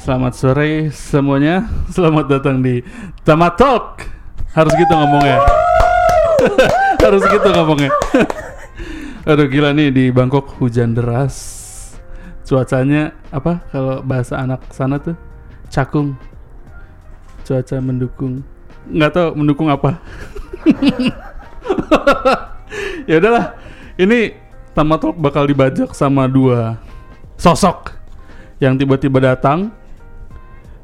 Selamat sore semuanya. Selamat datang di Tama Talk. Harus gitu ngomongnya. Harus gitu ngomongnya. Aduh gila nih di Bangkok hujan deras. Cuacanya apa kalau bahasa anak sana tuh cakung. Cuaca mendukung. Nggak tahu mendukung apa. ya udahlah. Ini Tama Talk bakal dibajak sama dua sosok yang tiba-tiba datang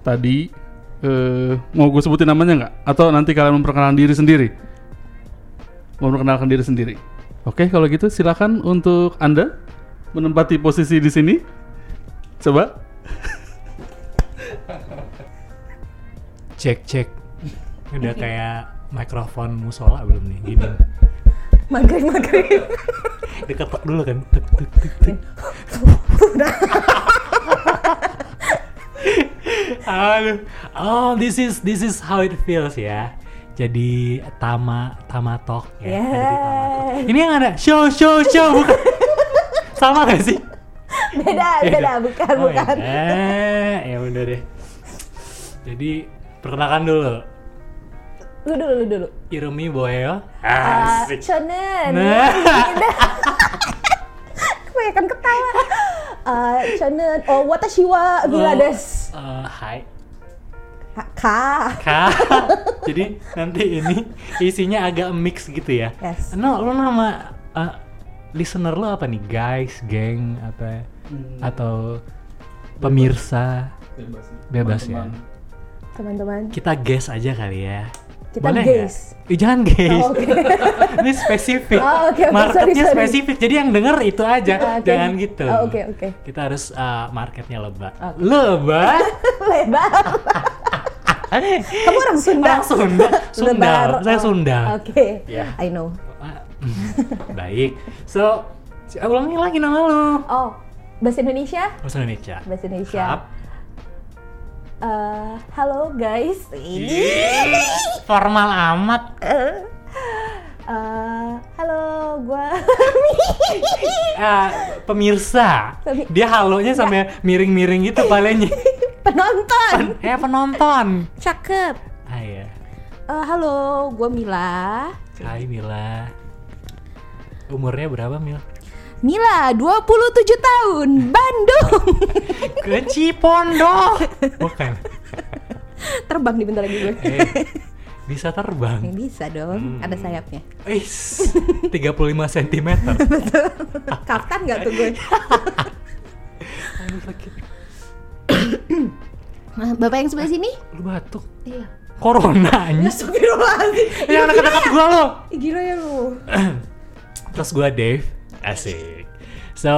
tadi eh, mau gue sebutin namanya nggak atau nanti kalian memperkenalkan diri sendiri mau memperkenalkan diri sendiri oke kalau gitu silakan untuk anda menempati posisi di sini coba cek cek udah kayak mikrofon musola belum nih gini maghrib maghrib diketok dulu kan tuk, tuk, tuk, tuk. Aduh. oh this is this is how it feels ya jadi tama tama talk ya Jadi Yes. Tama Talk. ini yang ada show show show bukan sama gak sih beda beda bukan Oh, ya. bukan eh ya udah deh jadi perkenalkan dulu lu dulu lu dulu Irumi Boyo Ah, asik Chonen Nah. kebanyakan ketawa Ah, Chonen oh watashi wa gila des Eh, hai Oh. Ha- ka Kak, jadi nanti ini isinya agak mix gitu ya. Yes. No, lo nama uh, listener lo apa nih, guys, geng, apa atau pemirsa? Bebas ya. teman-teman Kita guess aja kali ya. Kita nggak? guess. Ih, jangan guess. Oh, oke ini spesifik. Oh, oke, oke, sorry, Marketnya sorry. spesifik. Jadi yang denger itu aja, Ah, oke. jangan gitu. Ah, oke, oke. Kita harus uh, marketnya lebah. Oke. Lebah? lebar kamu orang Sunda Orang Sunda. Sundal. Lebar. Saya Oh, Sundal. oke Ya. I know Ah, Baik. So, c- ulangi lagi nama lu. oh bahasa Indonesia Bahasa Indonesia. bahasa Indonesia Siap. Eh, halo guys ini Ih, Formal amat. Eh, halo gua Ah, pemirsa. Pemi- Dia halonya sampai miring-miring gitu palenya. penonton eh penonton. cakep Ah ya. Eh, halo gua Mila Hai Mila. Umurnya berapa Mil? Mila 27 tahun Bandung Ke Cipondo. Bukan. terbang di bentar lagi gue Eh, bisa terbang. Ini bisa dong ada sayapnya Is, 35 cm. kaftan nggak tuh gue Aduh sakit. Nah, bapak yang sebelah sini Lu batuk. iya Corona anjing. Astagfirullahaladzim Ini Iya, anak dekat gua lo. Ih, gila ya lu Terus gua Dave. Asik. So,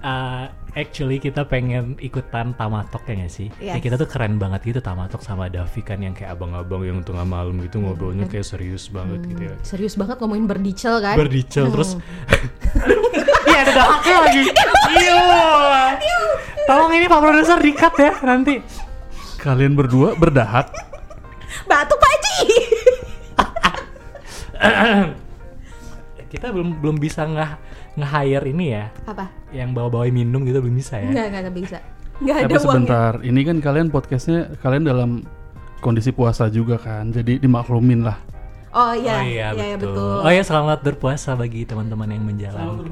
uh, actually kita pengen ikutan Tamatok ya nggak sih? Ya Yes. kita tuh keren banget gitu Tamatok sama Davi kan yang kayak abang-abang yang tengah malam gitu ngobrolnya kayak serius banget gitu ya. serius banget ngomongin berdicel kan Berdicel terus Iya ada dahaknya lagi. Iya. Tolong ini Pak Produser dikat ya nanti. Kalian berdua berdahak. batu Pak Ji Kita belum belum bisa nge nge-hire ini ya apa yang bawa-bawain minum gitu belum bisa ya. nggak nggak nggak bisa nggak ada Tapi uangnya sebentar, Eh, ini kan kalian podcastnya kalian dalam kondisi puasa juga kan, jadi dimaklumin lah. oh iya oh iya betul. Oh iya selamat berpuasa bagi teman-teman yang menjalankan.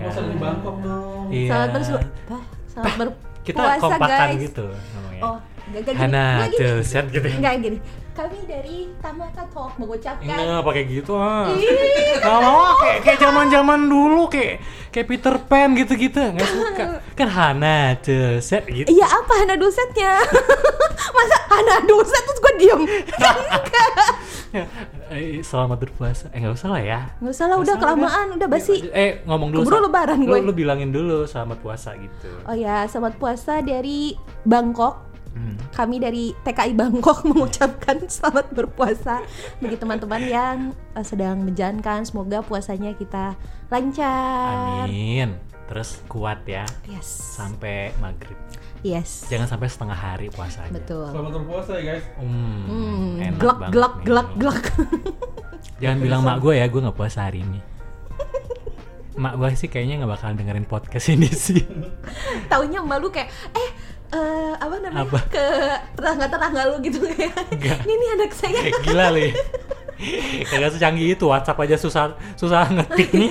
dong. Iya. Selamat bersu- Bah, selamat Kita berpuasa, kompakan guys. gitu ngomongnya. Oh, gak, gak gini. Hana Nggak gini. tuh, set gitu. Nggak gini. Kami dari Tamaka Talk mengucapkan Enggak pakai gitu ah. Ih, Nggak mau kayak kayak zaman-zaman dulu kayak kayak Peter Pan gitu-gitu nggak suka. Kan Hana tuh, set gitu. Iya apa Hana dosetnya? Masa Hana doset terus gue diem? Enggak. Eh, Selamat berpuasa. Eh nggak usah lah ya. Nggak usah lah, udah Nggak usah, kelamaan, udah basi. Eh ngomong dulu. Keburu sa- lebaran lu- gue. Lu bilangin dulu selamat puasa gitu. Oh ya, selamat puasa dari Bangkok. Hmm. Kami dari TKI Bangkok mengucapkan selamat berpuasa bagi teman-teman yang eh, sedang menjalankan. Semoga puasanya kita lancar. Amin. Terus kuat ya Yes. sampai maghrib. Yes. Jangan sampai setengah hari puasanya. Betul. Selamat berpuasa ya guys. Hmm, enak Gelak, banget gelak, nih. gelak, gelak. Jangan bilang mak gue ya, gue nggak puasa hari ini. mak gue sih kayaknya nggak bakal dengerin podcast ini sih. Taunya malu kayak, eh eh, apa namanya Apa? ke tetangga-tetangga lu gitu kayak Enggak. ini nih anak saya Kayak gila li. Kagak secanggih itu WhatsApp aja susah susah ngetik nih.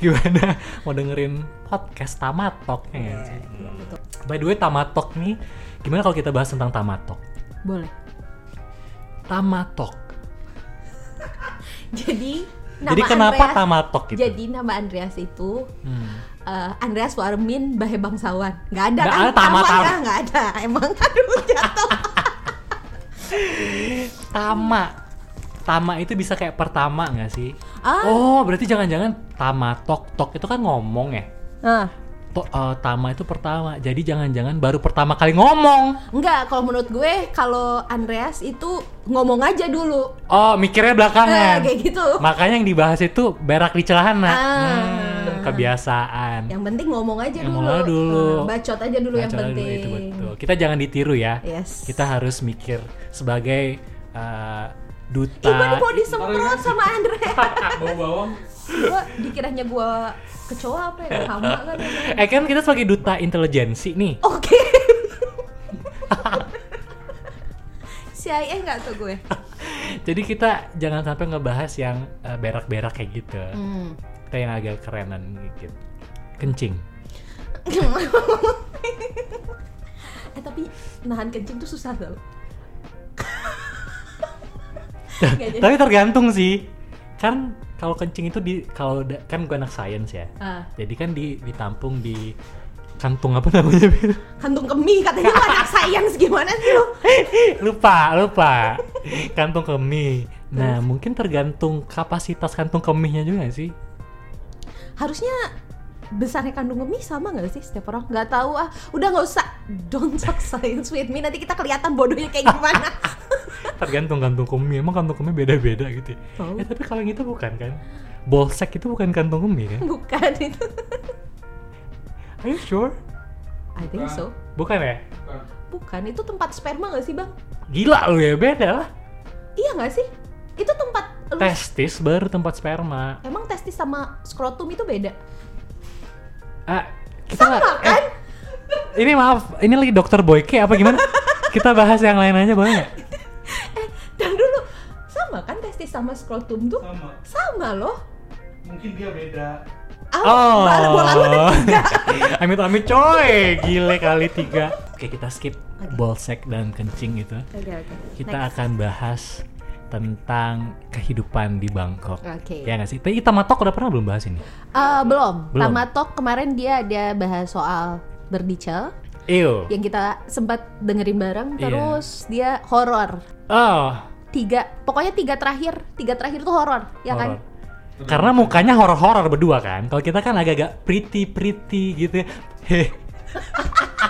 Gimana mau dengerin podcast Tamatok ya nggak sih? By the way Tamatok nih gimana kalau kita bahas tentang Tamatok? boleh Tamatok. jadi Jadi kenapa Andreas- Tamatok gitu? jadi nama Andreas itu Hmm. eh, Andreas Warmin Bahe Bangsawan nggak ada Nggak kan ada, tamat- Tamat, tamat. kan? nggak ada emang aduh jatuh Tama. Tama itu bisa kayak pertama nggak sih? Ah. Oh, berarti jangan-jangan Tama Tok Tok itu kan ngomong ya? Nah, To- eh, tama itu pertama. Jadi jangan-jangan baru pertama kali ngomong. nggak kalau menurut gue kalau Andreas itu ngomong aja dulu Oh, mikirnya Eh, belakangan. kayak gitu Makanya yang dibahas itu berak di celana. Ah. Hmm, kebiasaan. yang penting ngomong aja Yang dulu, ngomong aja dulu. Nah, bacot aja dulu yang Celana dulu, penting itu betul. Kita jangan ditiru ya. yes Kita harus mikir sebagai eh, duta. Iban mau disemprot sama Andre Bau bawang. gua dikiranya gua kecoa apa ya hama kan ya. Eh kan kita sebagai duta intelijensi nih. oke CIA nggak tuh gue Jadi kita jangan sampai ngebahas yang eh, berak-berak kayak gitu. hmm. Kita yang agak kerenan dikit. Kencing. eh tapi nahan kencing tuh susah tau Nggak jadi. Tapi tergantung sih. Kan kalau kencing itu di kalau da- kan gue anak sains ya. Ah, Jadi kan di ditampung di kantung apa namanya? Bil? kantung kemih katanya lu anak sayang gimana sih lu lupa, lupa. Kantung kemih. Nah, mungkin tergantung kapasitas kantung kemihnya juga sih. harusnya besarnya kandung kemih sama nggak sih setiap orang nggak tahu ah udah nggak usah don't talk science with me nanti kita kelihatan bodohnya kayak gimana Tergantung kantung kemih. Emang kantung kemih beda-beda gitu. ya? Tahu. Eh, tapi kalau yang itu bukan kan? Bolsek itu bukan kantung kemih kan? bukan itu Are you sure? I think so Bukan ya? bukan itu tempat sperma nggak sih bang Gila lu ya, beda lah. iya nggak sih itu tempat lu- Testis baru tempat sperma. emang testis sama skrotum itu beda Ah, kita sama nggak- kan Ini maaf, ini lagi dokter Boyke apa gimana? kita bahas yang lain aja boleh nggak? dan dulu sama kan testis sama skrotum tuh Sama. sama loh Mungkin dia Iya, beda. Ah, bola- bola lu ada tiga. Oh. amit amit coy, gile kali tiga. Oke kita skip bolsek dan kencing itu. oke oke Kita akan bahas tentang kehidupan di Bangkok. Oke. Ya nggak sih? Tapi Tamatok udah pernah belum bahas ini? Eh, belum. Belum. Tamatok kemarin dia ada bahas soal berdicel Ew. yang kita sempat dengerin bareng Iya. terus dia horor Oh. tiga pokoknya tiga terakhir tiga terakhir tuh horor ya kan horor. Karena mukanya horor-horor berdua kan. Kalau kita kan agak-agak pretty pretty gitu. ya. Heh.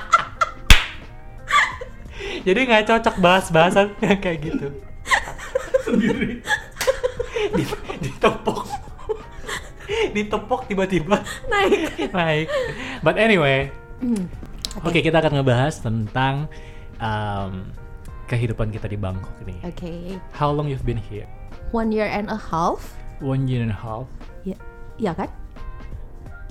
Jadi nggak cocok bahas-bahasan kayak gitu. Sendiri. Di- ditepok. ditepok tiba-tiba naik naik. But anyway, Hmm. oke kita akan ngebahas tentang um, kehidupan kita di Bangkok nih. oke How long you've been here? one year and a half One year and a half. ya ya kan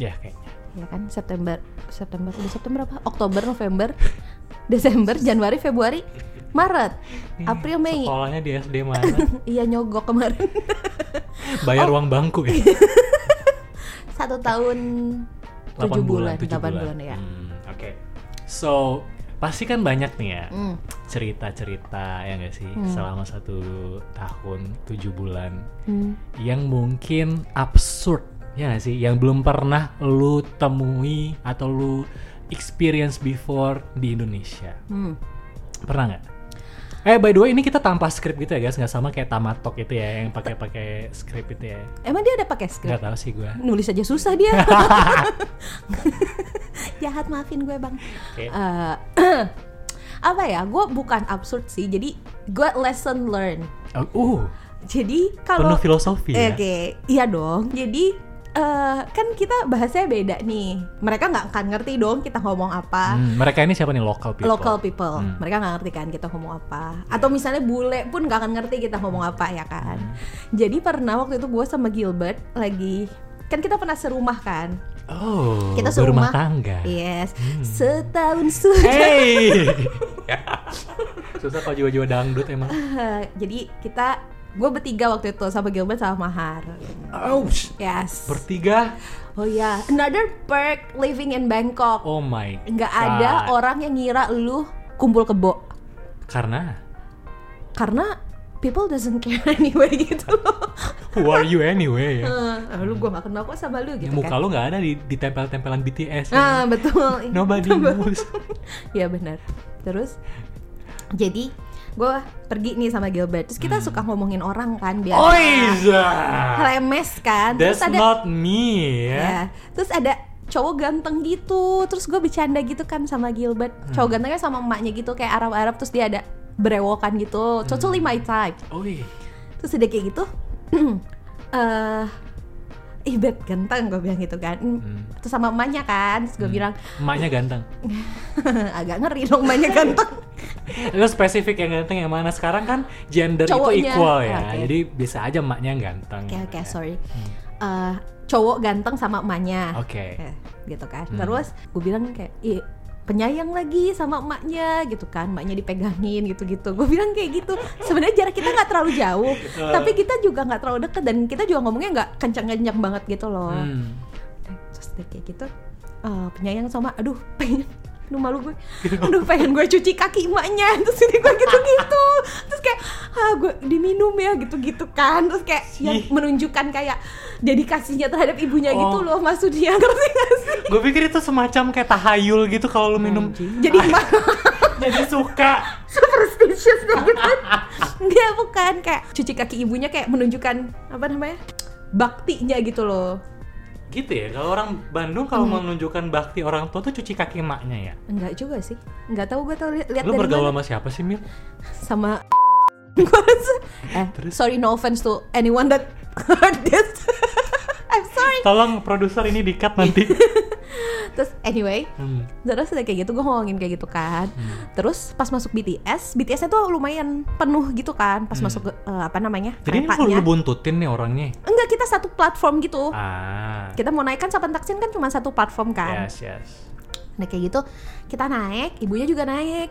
Ya kayaknya. ya kan September September udah September apa Oktober November Desember Januari Februari Maret April Mei Iya, Sekolahnya di SD mana? iya nyogok kemarin Bayar Oh. uang bangku ya. satu tahun tujuh bulan tujuh delapan bulan ya Hmm, Oke. So, pasti kan banyak nih ya Hmm. cerita-cerita ya nggak sih selama satu tahun tujuh bulan Hmm. yang mungkin absurd ya nggak sih yang belum pernah lu temui atau lu experience before di Indonesia Hmm. pernah nggak? Eh by the way ini kita tanpa skrip gitu ya guys nggak sama kayak tamatok itu ya yang pakai-pakai skrip itu ya Emang dia ada pakai skrip? nggak tahu sih gue. Nulis aja susah dia. Jahat maafin gue bang. Oke. Eh, apa ya? Gue bukan absurd sih. Jadi gue lesson learn. Uh Jadi kalau penuh filosofi Eh, ya. Oke, iya dong. Jadi eh, kan kita bahasanya beda nih. Mereka nggak akan ngerti dong kita ngomong apa. Hmm, mereka ini siapa nih local people? Local people, Hmm. Iya. mereka nggak ngerti kan kita ngomong apa. Atau misalnya bule pun nggak akan ngerti kita ngomong apa ya Hmm. kan. Jadi pernah waktu itu gue sama Gilbert lagi kan kita pernah serumah kan. Oh, Kita Iya. berumah serumah. tangga. Yes, Hmm. setahun sudah. Hey. Susah kalau jiwa-jiwa dangdut emang. Jadi kita, gue bertiga waktu itu sama Gilbert sama Mahar. Ouch. Yes. Bertiga. Oh ya, another perk living in Bangkok. Oh my. Nggak God. ada orang yang ngira lu kumpul kebo Karena karena people doesn't care anyway gitu loh. who are you anyway? ya? Eh, lu gua gak kenal kok sama lu gitu Muka kan. lo nggak ada di, di tempel-tempelan BTS. Nah, betul. Nobody knows. ya benar. Terus jadi gue pergi nih sama Gilbert. Terus Hmm. kita suka ngomongin orang kan biasa. Oiza. Lemes kan. That's Terus ada not me ya. ya. Terus ada cowok ganteng gitu. Terus gue bercanda gitu kan sama Gilbert. Hmm. Cowok gantengnya sama emaknya gitu kayak Arab-Arab terus dia ada berewokan Hmm. gitu. Totally my type. Oi. Terus udah kayak gitu. eh Ih Beb, ganteng gue bilang gitu kan Hmm. Terus sama emaknya kan Terus gue bilang Emaknya ganteng. Agak ngeri dong emaknya ganteng Lo spesifik yang ganteng yang mana sekarang kan gender itu Cowoknya. equal ya. Oke. Jadi bisa aja emaknya yang ganteng. Oke oke Ya. sorry Eh, Cowok ganteng sama emaknya Oke. Eh, Gitu kan Hmm. Terus gue bilang kayak Ih penyayang lagi sama emaknya gitu kan emaknya dipegangin gitu-gitu gue bilang kayak gitu sebenarnya jarak kita nggak terlalu jauh tapi kita juga nggak terlalu deket dan kita juga ngomongnya nggak kencang-kencang banget gitu loh Hmm. terus udah kayak gitu eh, penyayang sama aduh pengen aduh malu gue aduh pengen gue cuci kaki emaknya terus ini gue gitu gitu terus kayak ah gue diminum ya gitu gitu kan terus kayak yang Ih. menunjukkan kayak dedikasinya terhadap ibunya Oh. gitu loh maksud dia ngerti gak sih Gue pikir itu semacam kayak tahayul gitu kalau lu minum jadi emak jadi suka. superstitious gitu kan enggak bukan kayak cuci kaki ibunya kayak menunjukkan apa namanya baktinya gitu loh Gitu ya. Kalau orang Bandung kalau Hmm. mau menunjukkan bakti orang tua tuh cuci kaki emaknya ya. enggak juga sih enggak tahu gue tau li- lihat Lu dari mana bergaul sama siapa sih, Mil? sama gue rasa eh Terus? sorry no offense to anyone that heard this I'm sorry Tolong produser ini dikat nanti. Iya. terus anyway Hmm. terus udah kayak gitu gue ngomongin kayak gitu kan terus pas masuk BTS BTS-nya tuh lumayan penuh gitu kan pas masuk ke, eh, apa namanya Hmm. Jadi ini lu keretanya. lu buntutin nih orangnya. enggak kita satu platform gitu Ah. kita mau naik kan Sapan Taksin kan cuma satu platform kan Yes, yes. Nah kayak gitu kita naik, ibunya juga naik.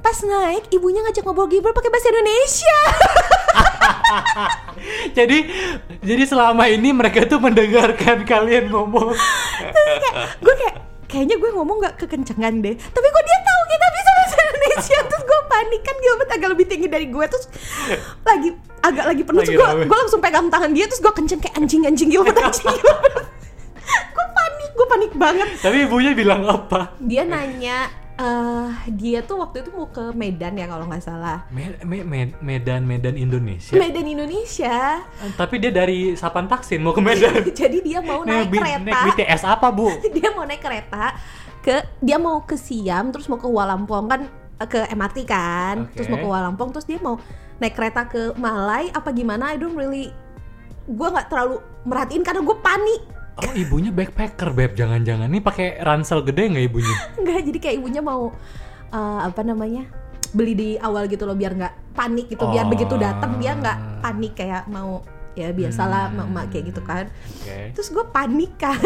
Pas naik, ibunya ngajak ngobrol Gilbert pakai bahasa Indonesia. Jadi jadi selama ini mereka tuh mendengarkan kalian ngomong. Terus kayak gue kayak kayaknya gue ngomong nggak kekencengan deh. Tapi kok dia tahu kita bisa bahasa Indonesia. Terus gue panik kan Gilbert agak lebih tinggi dari gue terus lagi agak lagi penuh Lagi terus gue rame. gue langsung pegang tangan dia terus gue kenceng kayak anjing anjing Gilbert anjing Gilbert. gue panik, gue panik banget. Tapi ibunya bilang apa? Dia nanya eh dia tuh waktu itu mau ke Medan ya kalau nggak salah. Me- me- me- Medan Medan Indonesia. Medan Indonesia. Tapi dia dari Sapan Taksin mau ke Medan. Jadi dia mau Naik naik Nah, bi- kereta. naik BTS apa, Bu? dia mau naik kereta ke dia mau ke Siam terus mau ke Kuala Lumpur kan eh, ke MRT kan Oke. terus mau ke Kuala Lumpur terus dia mau naik kereta ke Malai apa gimana I don't really gue nggak terlalu merhatiin karena gue panik Oh, ibunya backpacker, Beb. Jangan-jangan nih pakai ransel gede nggak ibunya? nggak jadi kayak ibunya mau eh, apa namanya beli di awal gitu loh biar nggak panik gitu Oh. biar begitu datang dia nggak panik kayak mau ya biasalah Hmm. emak emak kayak gitu kan Oke. terus gue panik kan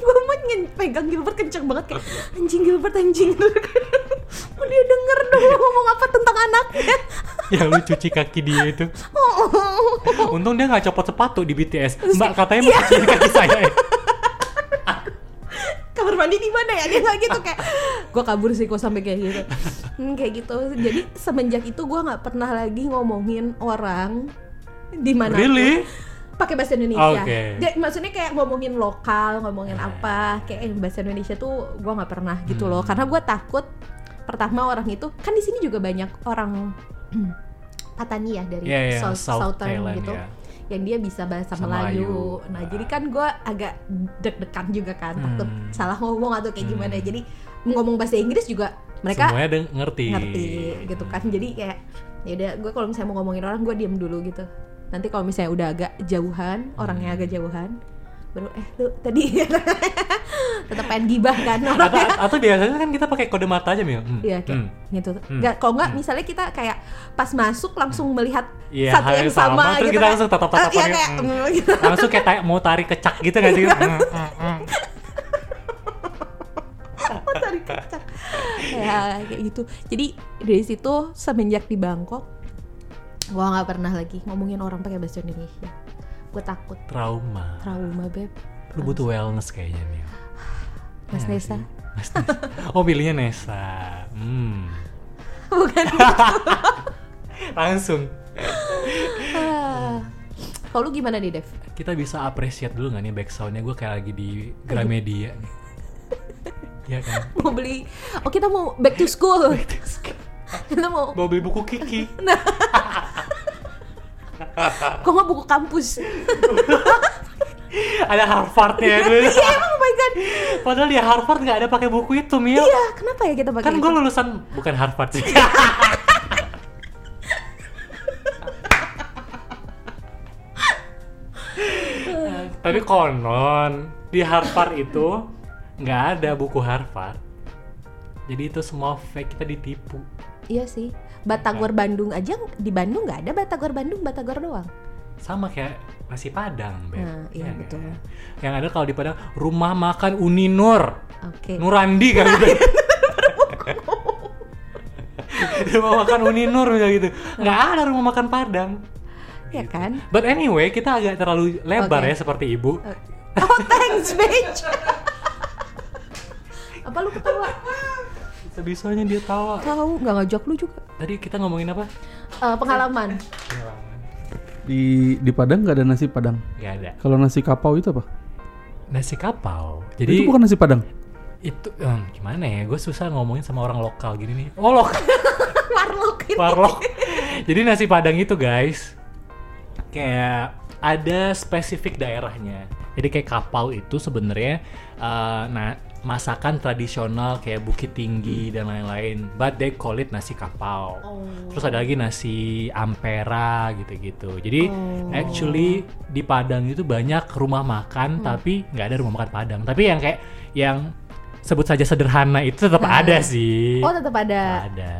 gue mau nge- pegang Gilbert kenceng banget kayak anjing Gilbert anjing Gilbert." mau dia denger dong lu ngomong apa tentang anaknya Yang lu cuci kaki dia itu. Oh. Untung dia nggak copot sepatu di BTS. Mbak katanya Iya. mau cuci kaki saya. ya? kamar mandi di mana ya dia nggak gitu kayak gue kabur sih kok sampai kayak gitu Hmm, kayak gitu jadi semenjak itu gue nggak pernah lagi ngomongin orang di mana Really? pakai bahasa Oh, Indonesia. Oke. Eh. Dia- maksudnya kayak ngomongin lokal, ngomongin apa, kayak yang bahasa Indonesia tuh gua nggak pernah gitu loh. Hmm. Karena gua takut pertama orang itu kan di sini juga banyak orang Patani ya dari Iya, iya, South, South Southern Thailand, gitu. ya. Yang dia bisa bahasa Sama Melayu. Melayu. Nah, Ah. jadi kan gua agak deg-degan juga kan takut Hmm. salah ngomong atau Hmm. kayak gimana. Jadi ngomong bahasa Inggris juga mereka Semuanya deng- ngerti. ngerti Iya. gitu kan jadi kayak ya udah gue kalau misalnya mau ngomongin orang gue diem dulu gitu nanti kalau misalnya udah agak jauhan Hmm. orangnya agak jauhan baru eh lu tadi tetap pengen gibah kan Atau, orangnya atau biasanya kan kita pakai kode mata aja, Mil. Hmm, Iya kayak hmm. gitu Hmm. Nggak- kalau nggak misalnya kita kayak pas masuk langsung melihat Iya, satu hal yang yang sama. sama, Terus gitu kita kan. langsung tatap-tatapan Eh, iya, gitu. kayak, Hmm. mm, gitu. langsung kayak tarik- mau tarik kecak gitu nggak sih? Mm, mm, mm. Tarik kecak. Oh, ya kayak gitu jadi dari situ semenjak di Bangkok gua nggak pernah lagi ngomongin orang pakai bahasa Indonesia gue takut Trauma. trauma beb Lu butuh wellness kayaknya nih. Iya Mas Nesa sih. Mas Nesa. Oh pilihnya Nesa. Hmm. bukan gitu. Langsung. Ah. kalau lu gimana nih Dev Kita bisa appreciate dulu nggak nih backsoundnya gue kayak lagi di Gramedia. nih. Iya kan. mau beli oh kita mau back to school kita mau Mau beli buku Kiki. Nah. kok nggak buku kampus Ada Harvardnya dulu. iya emang, oh my god Padahal di Harvard nggak ada pakai buku itu Mil. iya kenapa ya kita pakai Kan itu? gue lulusan bukan Harvard sih. Tapi konon di Harvard itu nggak ada buku Harvard. Jadi itu semua fake kita ditipu. iya sih Batagor Bandung aja di Bandung nggak ada Batagor Bandung Batagor doang Sama kayak nasi Padang, Beb. Nah, iya, kan? betul. Yang ada kalau di Padang rumah makan Uni Nur. oke Nurandi kali Beb. rumah makan Uni Nur misalnya gitu. Nggak ada rumah makan Padang. ya kan But anyway, kita agak terlalu lebar Oke. ya seperti ibu. Oh thanks bitch. apa lu ketawa? Sebisanya dia tawa. Tahu nggak ngajak lu juga? Tadi kita ngomongin apa? Eh, pengalaman. Di di Padang nggak ada nasi Padang. Gak ada. Kalau nasi kapau itu apa? Nasi kapau. Jadi itu bukan nasi Padang. itu, em, gimana ya? Gue susah ngomongin sama orang lokal gini nih. Oh lokal, Warlock ini. warlock. Jadi nasi padang itu guys, kayak ada spesifik daerahnya. Jadi kayak kapau itu sebenarnya eh, nah masakan tradisional kayak Bukit Tinggi dan lain-lain. But they call it nasi kapau. Oh. Terus ada lagi nasi ampera gitu-gitu. Jadi Oh. actually di Padang itu banyak rumah Hmm. makan tapi nggak ada rumah makan Padang. Tapi yang kayak yang sebut saja sederhana itu tetap Nah. ada sih. Oh tetap ada. Ada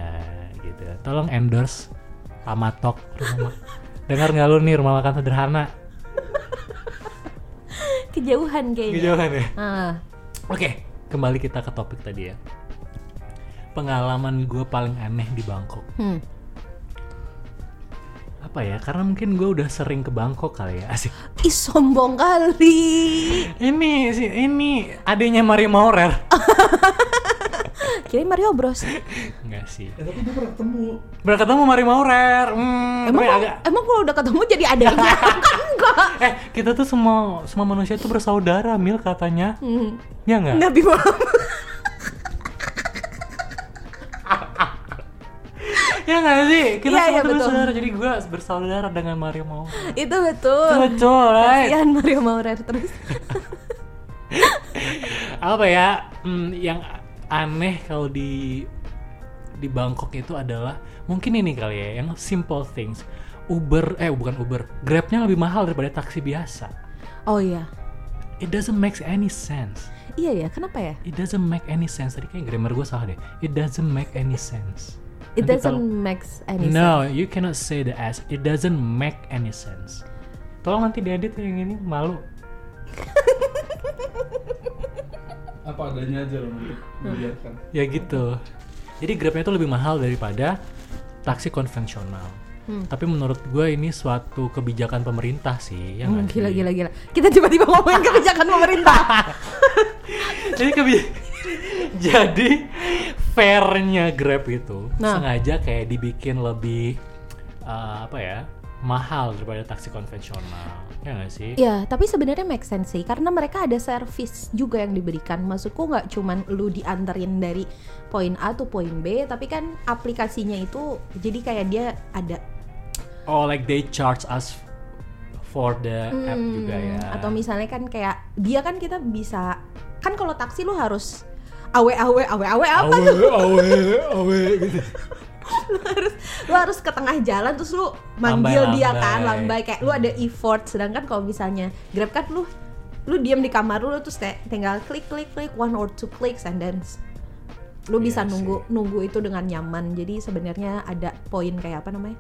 gitu. Tolong endorse Tamatok rumah. Dengar nggak lu nih rumah makan sederhana? Iya. Kejauhan kayaknya. Kejauhan ya. Ah, Oke, kembali kita ke topik tadi ya. Pengalaman gue paling aneh di Bangkok. hmm. Apa ya? Karena mungkin gue udah sering ke Bangkok kali ya. Asik. Ih sombong kali. Ini sih, ini adanya Mario Maurer. Kirain Mario Bros. Enggak sih. tapi dia pernah ketemu. Pernah ketemu Mario Maurer. Hmm, tapi Emang kalau- agak emang kalau udah ketemu jadi adanya kan enggak. eh kita tuh semua semua manusia tuh bersaudara mil katanya Hmm. ya nggak Nabi Muhammad. ya nggak sih kita Iya, semua iya, tuh betul. bersaudara jadi gue bersaudara dengan Mario Maurer Itu betul. betul eh. right? Kasihan Mario Maurer terus. apa ya hmm, yang aneh kalau di di Bangkok itu adalah mungkin ini kali ya yang simple things Uber eh bukan Uber Grabnya lebih mahal daripada taksi biasa Oh iya. it doesn't make any sense Iya ya, kenapa ya? it doesn't make any sense tadi kayak grammar gue salah deh it doesn't make any sense It Nanti doesn't kalau- make any sense. no you cannot say the S it doesn't make any sense tolong nanti diedit yang ini malu Apa adanya aja loh nanti biarkan. ya gitu jadi grabnya itu lebih mahal daripada taksi konvensional Hmm. tapi menurut gue ini suatu kebijakan pemerintah sih ya Hmm, nggak sih? gila gila gila. Kita tiba-tiba ngomongin kebijakan pemerintah. jadi kebi- jadi fairnya grab itu Nah. sengaja kayak dibikin lebih eh, apa ya mahal daripada taksi konvensional ya nggak sih ya, tapi sebenarnya make sense sih karena mereka ada service juga yang diberikan. Maksudku nggak cuman lu dianterin dari poin A to poin B, tapi kan aplikasinya itu jadi kayak dia ada Oh, like they charge us for the app Hmm, juga ya. Atau misalnya kan kayak dia kan kita bisa kan kalau taksi lu harus awe awe awe awe apa awe, tuh? awe, awe gitu. lu harus ke tengah jalan terus lu manggil Lambai, dia lambai. kan lambai kayak lu ada effort sedangkan kalau misalnya grab kan lu lu diam di kamar lu terus kayak tinggal klik klik klik one or two clicks and then lu bisa Iya sih. nunggu nunggu itu dengan nyaman jadi sebenarnya ada poin kayak apa namanya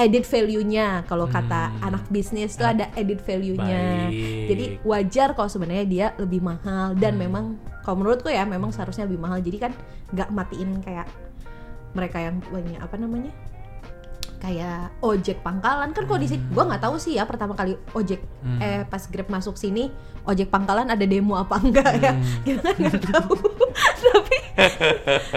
added value-nya kalau kata Hmm. anak bisnis tuh Ah. ada added value-nya Baik. jadi wajar kalau sebenarnya dia lebih mahal dan Hmm. memang kalau menurutku ya memang seharusnya lebih mahal jadi kan nggak matiin kayak mereka yang punya apa namanya kayak ojek pangkalan kan kalau di sini gua nggak tahu sih ya pertama kali ojek Hmm. eh pas grab masuk sini ojek pangkalan ada demo apa enggak ya Hmm. kita kan nggak tahu tapi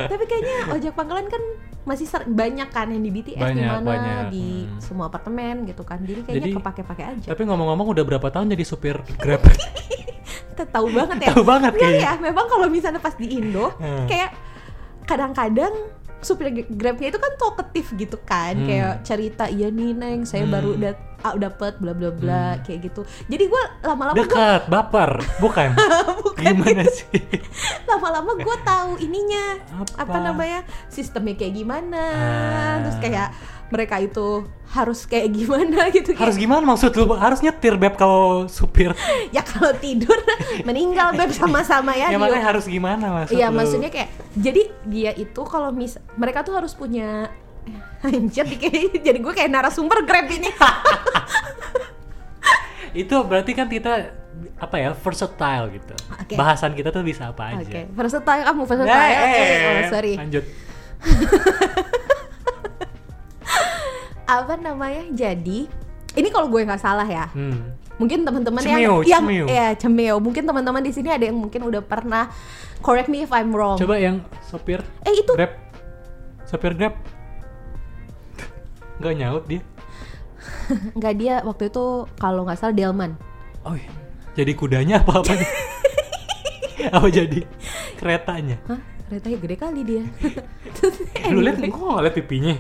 tapi kayaknya ojek pangkalan kan masih ser- banyak kan yang di BTS di Banyak, mana banyak. di Hmm. semua apartemen gitu kan jadi kayaknya Jadi- kepake-pakai aja Tapi ngomong-ngomong udah berapa tahun jadi supir Grab? kita tahu banget ya Tahu banget Iya kayaknya. ya memang kalau misalnya pas di Indo Hmm. kayak kadang-kadang supir G- grabnya itu kan talkative gitu kan Hmm. kayak cerita iya nih neng saya Hmm. baru dat ah, dapet bla bla bla Hmm. kayak gitu jadi gue lama-lama gua- Dekat, baper, bukan? bukan gitu. Gimana sih? lama-lama gue tahu ininya Apa? apa? namanya sistemnya kayak gimana Ah. terus kayak mereka itu harus kayak gimana gitu Harus Kayak, gimana maksud lu? Harus nyetir beb kalau supir. ya kalau tidur meninggal beb sama-sama ya Ya, Dio. makanya harus gimana maksud Iya lu? maksudnya kayak jadi dia itu kalau mis mereka tuh harus punya anjir dikit- jadi gue kayak narasumber grab ini itu berarti kan kita apa ya versatile gitu. Oke. Bahasan kita tuh bisa apa oke aja. versatile kamu versatile Nah, oke eh, oh, sorry Lanjut. apa namanya jadi ini kalau gue nggak salah ya Hmm. mungkin teman-teman Cemeo, yang yang cemeo. ya cemeo mungkin teman-teman di sini ada yang mungkin udah pernah correct me if I'm wrong Coba yang sopir eh itu Grab. Sopir Grab. Gak nyaut dia. nggak dia waktu itu kalau nggak salah Delman Oh, iya. jadi kudanya apa apa? apa jadi keretanya? hah keretanya gede kali dia Eh, lu lihat kok nggak lihat pipinya?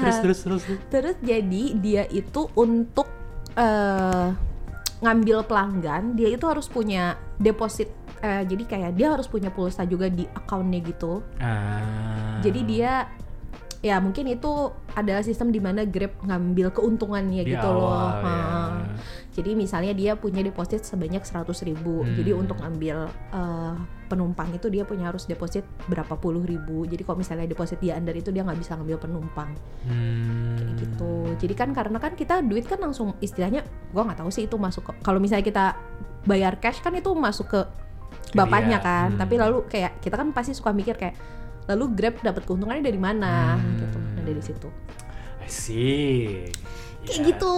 terus terus terus. terus. Terus jadi dia itu untuk eh, ngambil pelanggan, dia itu harus punya deposit. Eh, jadi kayak dia harus punya pulsa juga di akunnya gitu. Ah. Jadi dia ya mungkin itu adalah sistem di mana Grab ngambil keuntungannya Di gitu loh. awal, ya. Heeh. Jadi misalnya dia punya deposit sebanyak 100.000 ribu. Hmm. Jadi untuk ngambil eh, penumpang itu dia punya harus deposit berapa puluh ribu. Jadi kalau misalnya deposit dia under itu dia nggak bisa ngambil penumpang Hmm. kayak gitu jadi kan karena kan kita duit kan langsung istilahnya gua nggak tahu sih itu masuk ke kalau misalnya kita bayar cash kan itu masuk ke Ke bapaknya dia, kan hmm. tapi lalu kayak kita kan pasti suka mikir kayak lalu grab dapat keuntungannya dari Hmm. mana Iya. gitu nah dari situ I see. kayak Ya. gitu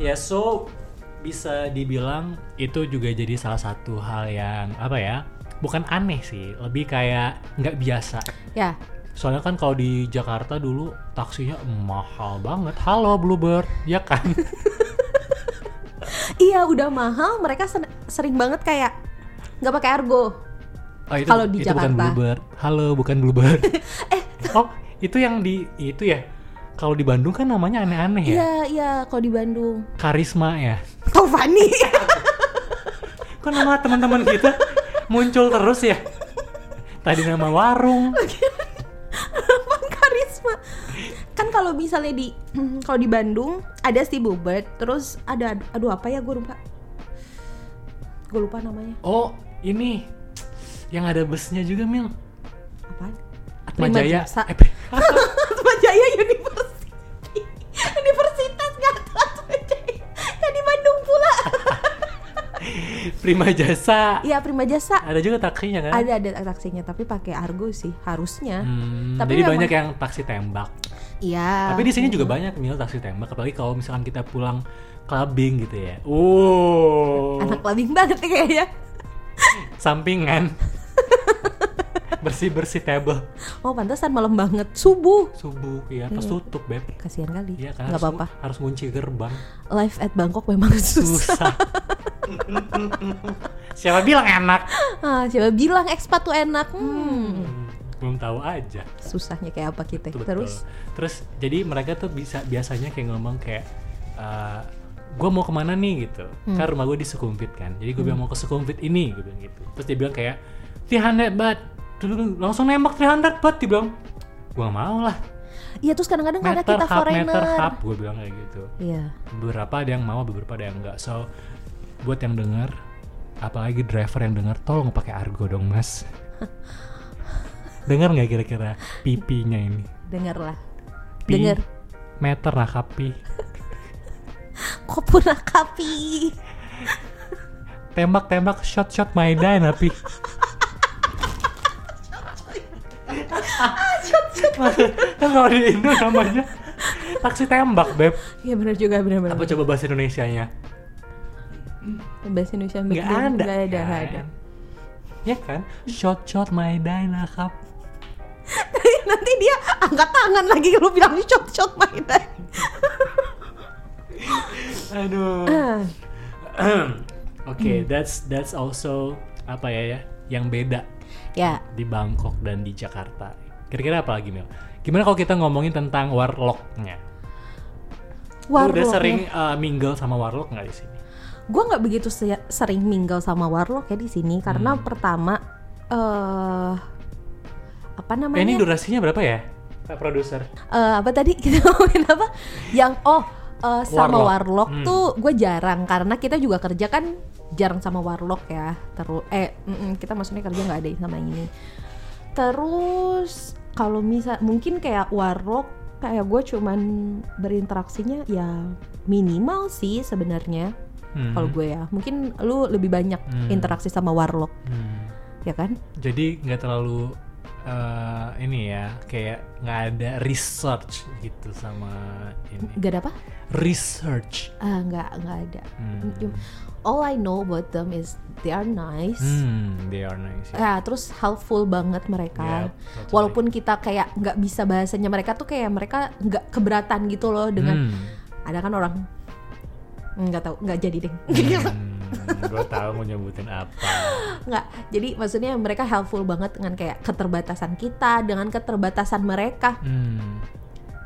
Ya so bisa dibilang itu juga jadi salah satu hal yang apa ya? Bukan aneh sih, lebih kayak nggak biasa. ya Soalnya kan kalau di Jakarta dulu taksinya mahal banget. Halo Bluebird, ya kan? iya udah mahal mereka sen- sering banget kayak nggak pakai argo Oh, itu, Kalau di itu bukan Jakarta. Eh. Bluebird. Halo, bukan Bluebird. oh, itu yang di itu ya. Kalau di Bandung kan namanya aneh-aneh ya. iya iya kalau di Bandung Karisma ya. Taufani Kok nama teman-teman kita muncul terus ya? Tadi nama warung. Emang karisma. Kan kalau misalnya di kalau di Bandung ada si Bubet, terus ada aduh apa ya gue lupa. Gue lupa namanya. Oh, ini yang ada busnya juga, Mil. Apaan? Atma Prima Jaya. Jasa. Eh, pri- Atma Jaya University. Universitas nggak tahu Atma Jaya. Ya di Bandung pula. Prima Jasa. Iya Prima Jasa. Ada juga taksinya kan? Ada ada taksinya tapi pakai Argo sih harusnya. Hmm, Tapi jadi memang- banyak yang taksi tembak. Iya. Tapi di sini juga banyak mil taksi tembak, apalagi kalau misalkan kita pulang clubbing gitu ya. Wow, anak labing banget ya. nih kayaknya. sampingan. bersih bersih table Oh pantesan malam banget subuh. subuh ya pas tutup beb Kasihan kali. Iya kan Iya. nggak harus- apa-apa. harus kunci gerbang Live at Bangkok memang susah. susah siapa bilang enak Ah, siapa bilang ekspat tuh enak? Hmm. Hmm, belum tahu aja Susahnya kayak apa kita. Betul, betul. Terus terus jadi mereka tuh bisa biasanya kayak ngomong kayak gue mau kemana nih gitu Hmm. kan rumah gue di Sukumpit kan jadi gue bilang mau ke Sukumpit ini gue bilang gitu terus dia bilang kayak 300 bat Dulu langsung nembak 300 bat dia bilang gue mau lah Iya terus kadang-kadang karena meter kita hub foreigner. meter hub gue bilang kayak gitu Iya. beberapa ada yang mau beberapa ada yang enggak so buat yang dengar apalagi driver yang dengar tolong pakai argo dong mas dengar nggak kira-kira pipinya ini dengarlah Pi- Dengar. meter nakapi kopuna kapi tembak-tembak shot-shot Maeda nah, napi kan kalau di Indo namanya taksi tembak beb ya benar juga benar benar apa coba bahasa Indonesia nya bahasa Indonesia nggak bikin- ada nggak ada nggak ada kan? ya kan shot-shot Maeda nah, nakap nanti dia angkat tangan lagi lu bilang shot shot mainan aduh Ah, oke that's that's also apa ya ya yang beda ya di Bangkok dan di Jakarta kira-kira apa lagi Mel? gimana kalau kita ngomongin tentang warlocknya Lu warlock ya? udah sering uh, mingle sama warlock nggak di sini? gue nggak begitu se- sering mingle sama warlock ya di sini karena Hmm. pertama eh apa Eh, ini namanya durasinya berapa ya? Pak produser. Eh, apa tadi kita ngomongin apa yang oh eh, sama Warlock. warlock, Hmm. tuh gue jarang karena kita juga kerja kan jarang sama warlock ya terus eh mm-mm, kita maksudnya kerja nggak ada yang sama ini terus kalau misal mungkin kayak warlock kayak gue cuman berinteraksinya ya minimal sih sebenarnya Hmm. kalau gue ya mungkin lu lebih banyak Hmm. interaksi sama warlock Hmm. ya kan Jadi nggak terlalu eh, ini ya, kayak nggak ada research gitu sama ini. nggak ada apa Research. Ah, nggak nggak ada Hmm. Cuma- all I know about them is they are nice Hmm, they are nice. ya. Ya, terus helpful banget mereka. Yep, totally. kan? Walaupun kita kayak nggak bisa bahasanya mereka tuh kayak mereka nggak keberatan gitu loh dengan Hmm. ada kan orang nggak tahu nggak jadi deh Hmm, gue tahu mau nyebutin apa. nggak jadi maksudnya mereka helpful banget dengan kayak keterbatasan kita dengan keterbatasan mereka Hmm.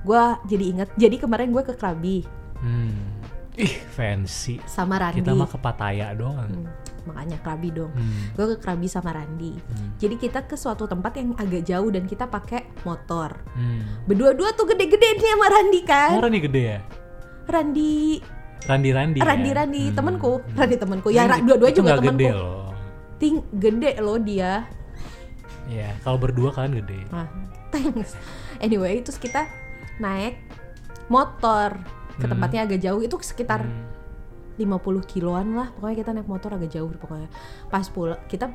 gue jadi inget jadi kemarin gue ke Krabi Hmm. Ih, fancy. sama Randi Kita mah ke Pattaya doang. Hmm, makanya Krabi dong Hmm. gue ke Krabi sama Randi Hmm. jadi kita ke suatu tempat yang agak jauh dan kita pakai motor Hmm. berdua-dua tuh gede-gede nih sama Randi kan Oh, Randi gede ya? Randi Randi Randi. Randi ya? Randi Hmm. temanku Randi temanku ya Ra- dua-dua Itu juga nggak gede temanku loh. ting gede loh dia Ya, kalau berdua kalian gede. nah, thanks anyway terus kita naik motor ke Hmm. tempatnya agak jauh itu sekitar Hmm. 50 kiloan lah pokoknya kita naik motor agak jauh pokoknya pas pulang kita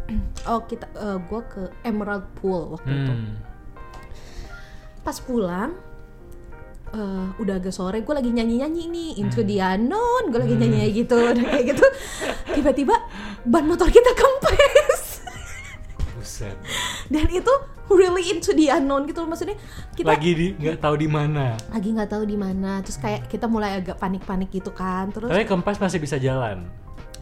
oh kita eh, gua ke Emerald Pool waktu itu Hmm. pas pulang eh, udah agak sore gue lagi nyanyi nyanyi nih into Hmm. the unknown gue lagi nyanyi gitu udah kayak gitu tiba-tiba ban motor kita kempes Buset. dan itu really into the unknown gitu loh maksudnya kita Lagi di nggak tahu di mana. lagi nggak tahu di mana terus kayak kita mulai agak panik-panik gitu kan terus Tapi kempas masih bisa jalan.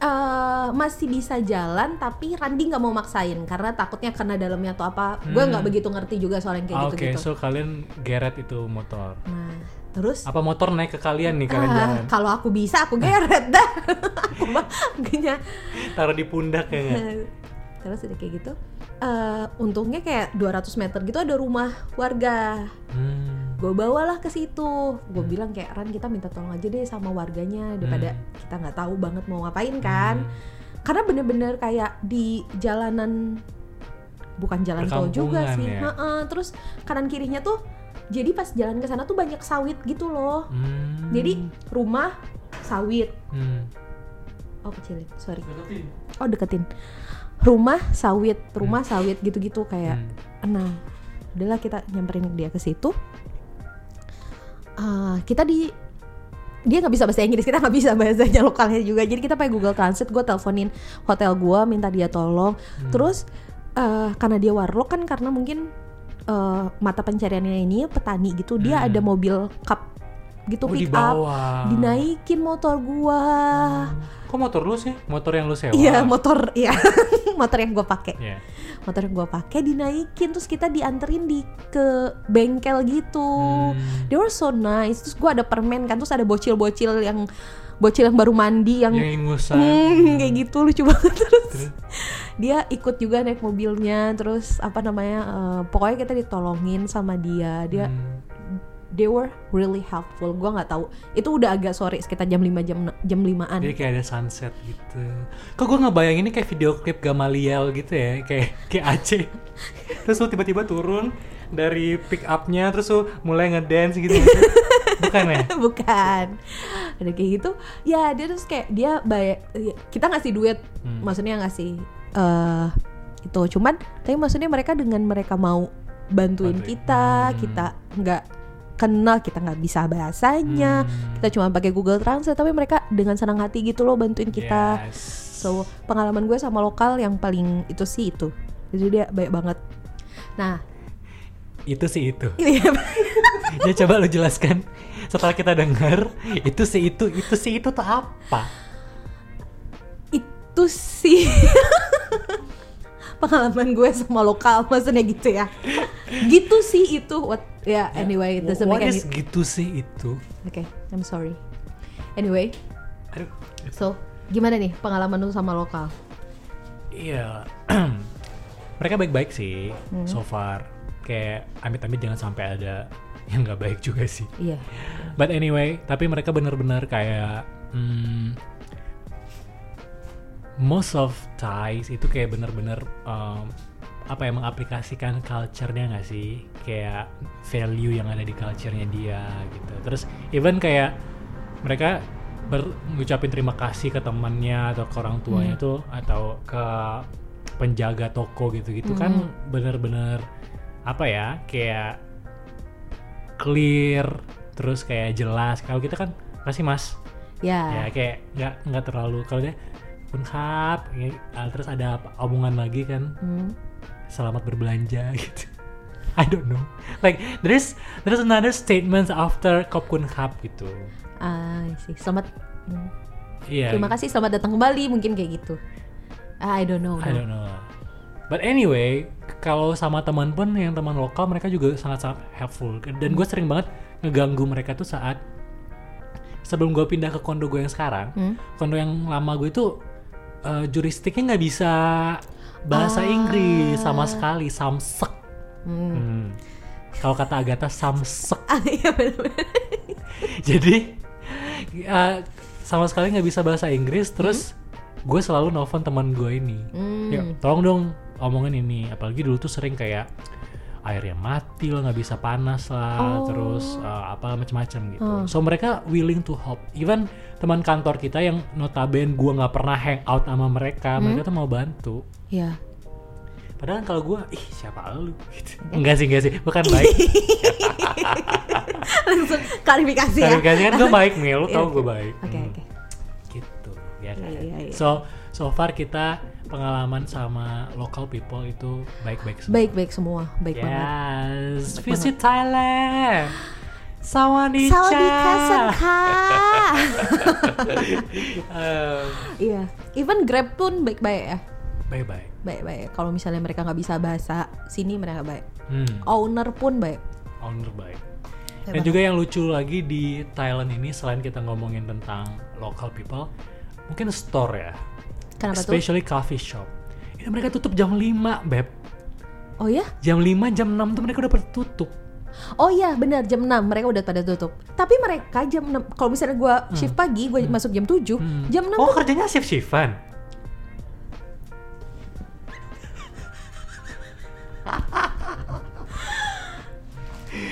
eh, masih bisa jalan tapi Randi nggak mau maksain karena takutnya kena dalamnya atau apa gue Hmm. nggak begitu ngerti juga soal yang kayak Ah, gitu Oke, gitu so kalian geret itu motor. nah terus Apa motor naik ke kalian nih kalian Ah, jalan? kalau aku bisa aku geret dah aku mah kayaknya Taruh di pundak ya nggak? terus udah kayak gitu eh, untungnya kayak 200 meter gitu ada rumah warga Hmm. gue bawalah ke situ gue bilang kayak Ran kita minta tolong aja deh sama warganya daripada Hmm. kita nggak tahu banget mau ngapain kan karena bener-bener kayak di jalanan bukan jalan tol juga Perkampungan sih ya. Heeh, terus kanan kirinya tuh jadi pas jalan ke sana tuh banyak sawit gitu loh Hmm. jadi rumah sawit Hmm. oh kecilin sorry oh deketin rumah sawit rumah sawit gitu-gitu kayak Hmm. nah udahlah kita nyamperin dia ke situ Ah, kita di dia nggak bisa bahasa Inggris kita nggak bisa bahasanya lokalnya juga jadi kita pakai Google Translate gue teleponin hotel gue minta dia tolong Hmm. terus eh, karena dia warlock kan karena mungkin eh, mata pencariannya ini petani gitu dia Hmm. ada mobil cup gitu Oh, di pick up bawah. dinaikin motor gua Kok motor lu sih? Motor yang lu sewa? Iya motor ya motor yang gue pakai Iya. motor yang gue pakai dinaikin terus kita dianterin di ke bengkel gitu Hmm. they were so nice terus gue ada permen kan terus ada bocil-bocil yang bocil yang baru mandi yang Yang ngusan. Hmm, kayak gitu lucu banget terus Iya, Terus? dia ikut juga naik mobilnya terus apa namanya eh, pokoknya kita ditolongin sama dia dia Hmm. they were really helpful gua nggak tahu itu udah agak sore sekitar jam 5 jam ne- jam 5an Jadi kayak ada sunset gitu. Kok gue ngebayangin ini kayak video klip Gamaliel gitu ya, kayak kayak Aceh. Terus lu tiba-tiba turun dari pick up-nya terus lu mulai ngedance gitu. Bukan ya? bukan ada kayak gitu ya dia terus kayak dia bayar kita ngasih duit Hmm. maksudnya ngasih eh itu cuman tapi maksudnya mereka dengan mereka mau bantuin Bantuin. kita Hmm. kita nggak kenal kita nggak bisa bahasanya Hmm. kita cuma pakai Google Translate tapi mereka dengan senang hati gitu loh bantuin kita Yes. So pengalaman gue sama lokal yang paling itu sih itu. Jadi dia baik banget. Nah, itu sih itu. ya coba lu jelaskan setelah kita dengar itu sih itu itu sih itu tuh apa? itu sih pengalaman gue sama lokal maksudnya gitu ya. Gitu sih itu what ya anyway it doesn't What make any is gitu sih itu? Oke, I'm sorry. Anyway, Aduh, so gimana nih pengalaman lu sama lokal? Iya. Mereka baik-baik sih Hmm. so far. Kayak amit-amit jangan sampai ada yang nggak baik juga sih. Iya. But anyway, tapi mereka benar-benar kayak hmm, most of Thais itu kayak benar-benar um, apa ya mengaplikasikan culture-nya nggak sih? Kayak value yang ada di culture-nya dia gitu. Terus even kayak mereka ber- ngucapin terima kasih ke temannya atau ke orang tuanya tuh atau ke penjaga toko gitu-gitu kan benar-benar apa ya kayak clear terus kayak jelas kalau kita kan pasti mas ya Ya. kayak nggak nggak terlalu kalau dia pun hap ya, ah, terus ada apa- omongan lagi kan Hmm. selamat berbelanja gitu I don't know like there's there's another statement after kop kun hap gitu Ah, I see. Selamat hmm. iya Terima kasih selamat datang kembali mungkin kayak gitu. I don't know. I don't know but anyway kalau sama teman pun yang teman lokal mereka juga sangat sangat helpful dan gue sering banget ngeganggu mereka tuh saat sebelum gue pindah ke kondo gue yang sekarang Hmm? kondo yang lama gue itu eh, jurisdiknya nggak bisa bahasa Ah. Inggris sama sekali samsek. Hmm. Hmm. Kalau kata Agatha samsek. Ah, Ya. iya benar-benar. Jadi eh, sama sekali nggak bisa bahasa Inggris. Terus gue selalu nelfon teman gue ini. Hmm. Ya, tolong dong omongin ini. Apalagi dulu tuh sering kayak airnya mati lah nggak bisa panas lah Oh. terus eh, apa macam-macam gitu Hmm. so mereka willing to help even teman kantor kita yang notaben gua nggak pernah hang out sama mereka Hmm. mereka tuh mau bantu Ya. Padahal kalau gue, ih siapa lu? Gitu. Enggak sih, enggak sih. Bukan baik. Iya. Langsung klarifikasi ya. Klarifikasi kan gue baik, Mil. Lu tau Iya, gue baik. Oke, Hmm, oke. Gitu, ya kan? Iya, iya, iya. So, so far kita pengalaman sama local people itu baik-baik semua. Baik-baik semua, baik Ya. banget. Yes, Baik visit Thailand. Sawadika. Sawadika Sangka. Eh, Iya, even Grab pun baik-baik ya. Baik-baik. Baik-baik. Kalau misalnya mereka nggak bisa bahasa sini mereka baik. Hmm, Owner pun baik. owner baik. Baik Dan juga yang lucu lagi di Thailand ini selain kita ngomongin tentang local people, mungkin store ya. Kenapa tuh? especially coffee shop. Ini mereka tutup jam 5, Beb. Oh ya? Jam 5, jam 6 tuh mereka udah pada tutup. Oh iya, benar jam 6 mereka udah pada tutup. Tapi mereka jam 6 kalau misalnya gua shift pagi, gua masuk jam 7, Hmm. jam 6 Oh, kerjanya shift-shiftan.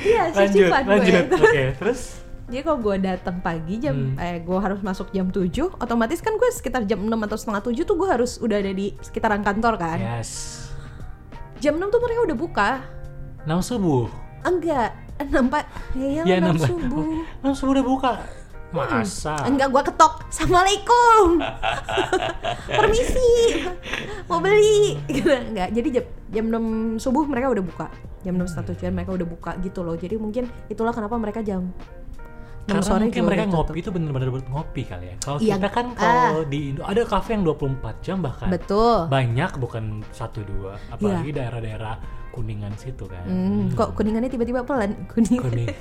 iya shift Lanjut, shiftan gue. lanjut. Hmm. Oke, terus Jadi kalau gue datang pagi jam eh gue harus masuk jam 7 otomatis kan gue sekitar jam 6 atau setengah 7 tuh gue harus udah ada di sekitaran kantor kan. yes. Jam 6 tuh mereka udah buka. 6 subuh. Enggak, 6 Pak. Ya, Ya, ya 6 enam. subuh. 6 subuh udah buka. Masa? Hmm. Enggak gue ketok. Assalamualaikum. Permisi. Mau beli. Gitu, Enggak. Jadi jam jam 6 subuh mereka udah buka. Jam 6 setengah tujuan mereka udah buka gitu loh. Jadi mungkin itulah kenapa mereka jam 6 Karena mungkin sore juga mereka udah tutup. ngopi itu bener-bener buat ngopi kali ya. Kalau Iya, kita kan ah. kalau di Indo ada kafe yang 24 jam bahkan. Betul. Iya. Banyak bukan satu dua, apalagi daerah-daerah Kuningan situ kan. Hmm, kok kuningannya tiba-tiba pelan? Kuning. Kuning. Iya.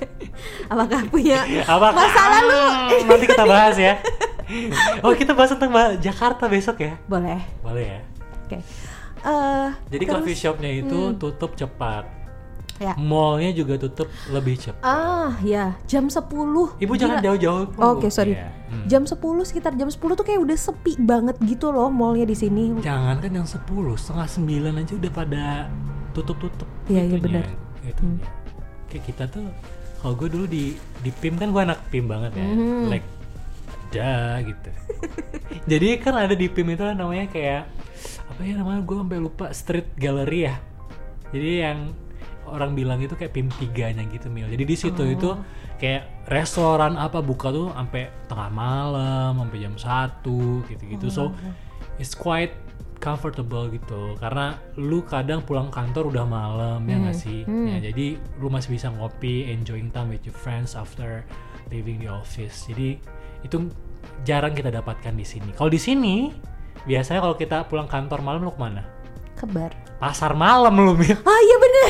Apakah punya Apa masa lalu? Hmm, Nanti kita bahas ya. Oh kita bahas tentang Ba- Jakarta besok ya. Boleh. Boleh ya. Oke. Eh, Jadi terus- Hmm. coffee shopnya itu tutup cepat. Ya. Mallnya juga tutup lebih cepat. Ah, ya, jam 10. Ibu jangan Gila. jauh-jauh. Bu. Oke, sorry. Iya. Hmm. Jam 10 sekitar jam 10 tuh kayak udah sepi banget gitu loh mallnya di sini. Iya, Jangan kan yang 10, setengah 9 aja udah pada tutup-tutup. Iya, iya, itunya, benar. itunya. gitu. Kayak kita tuh kalau gue dulu di di PIM kan gue anak PIM banget ya. Mhm. Like ada gitu. Jadi kan ada di PIM itu namanya kayak apa ya namanya gue sampai lupa street gallery ya. Jadi yang orang bilang itu kayak PIM 3-nya gitu Mil. Jadi di situ itu kayak restoran apa buka tuh sampai tengah malam, sampai jam 1 gitu-gitu. So it's quite comfortable gitu karena lu kadang pulang kantor udah malam Hmm. ya nggak sih Ya, jadi lu masih bisa ngopi enjoying time with your friends after leaving the office jadi itu jarang kita dapatkan di sini kalau di sini biasanya kalau kita pulang kantor malam lu kemana Kebar. pasar malam lu Mil. Ah, iya bener.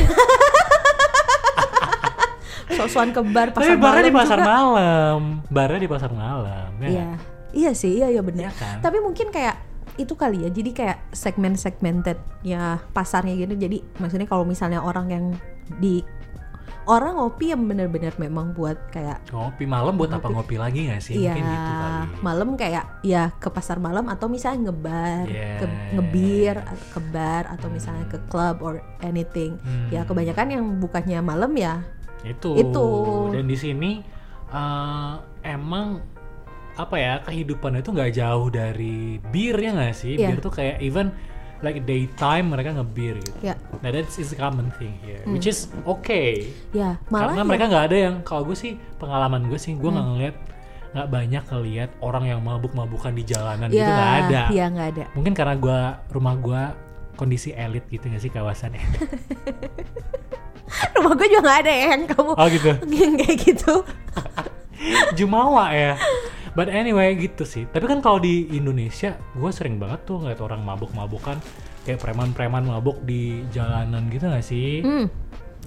Sosuan kebar tapi pasar barnya di malam pasar juga. malam barnya di pasar malam ya Iya. nggak? Iya sih, iya iya bener. Iya kan? Tapi mungkin kayak itu kali ya. Jadi kayak segmen-segmented ya pasarnya gitu. Jadi maksudnya kalau misalnya orang yang di orang ngopi yang bener-bener memang buat kayak ngopi malam buat apa ngopi lagi nggak sih Iya, mungkin gitu kali malam kayak ya ke pasar malam atau misalnya ngebar, ke, Yes. ngebir, iya. atau ke bar atau misalnya ke club or anything. Hmm. Ya kebanyakan yang bukannya malam ya. itu Itu. dan di sini eh, emang apa ya kehidupan itu nggak jauh dari bir ya nggak sih Iya. bir tuh kayak even like daytime mereka ngebir gitu Ya, nah that's is a common thing here which is okay ya Hmm. malah karena ya- Hmm. mereka nggak ada yang kalau gue sih pengalaman gue sih gue nggak ngeliat nggak banyak ngeliat orang yang mabuk-mabukan di jalanan ya, gitu nggak ada Ya nggak ada. mungkin karena gua rumah gua kondisi elit gitu nggak sih kawasannya Kan Rumah gue juga nggak ada ya yang kamu oh gitu yang kayak gitu. Jumawa ya. But anyway gitu sih. Tapi kan kalau di Indonesia, gue sering banget tuh ngeliat orang mabuk-mabukan kayak preman-preman mabuk di jalanan gitu gak sih? Hmm.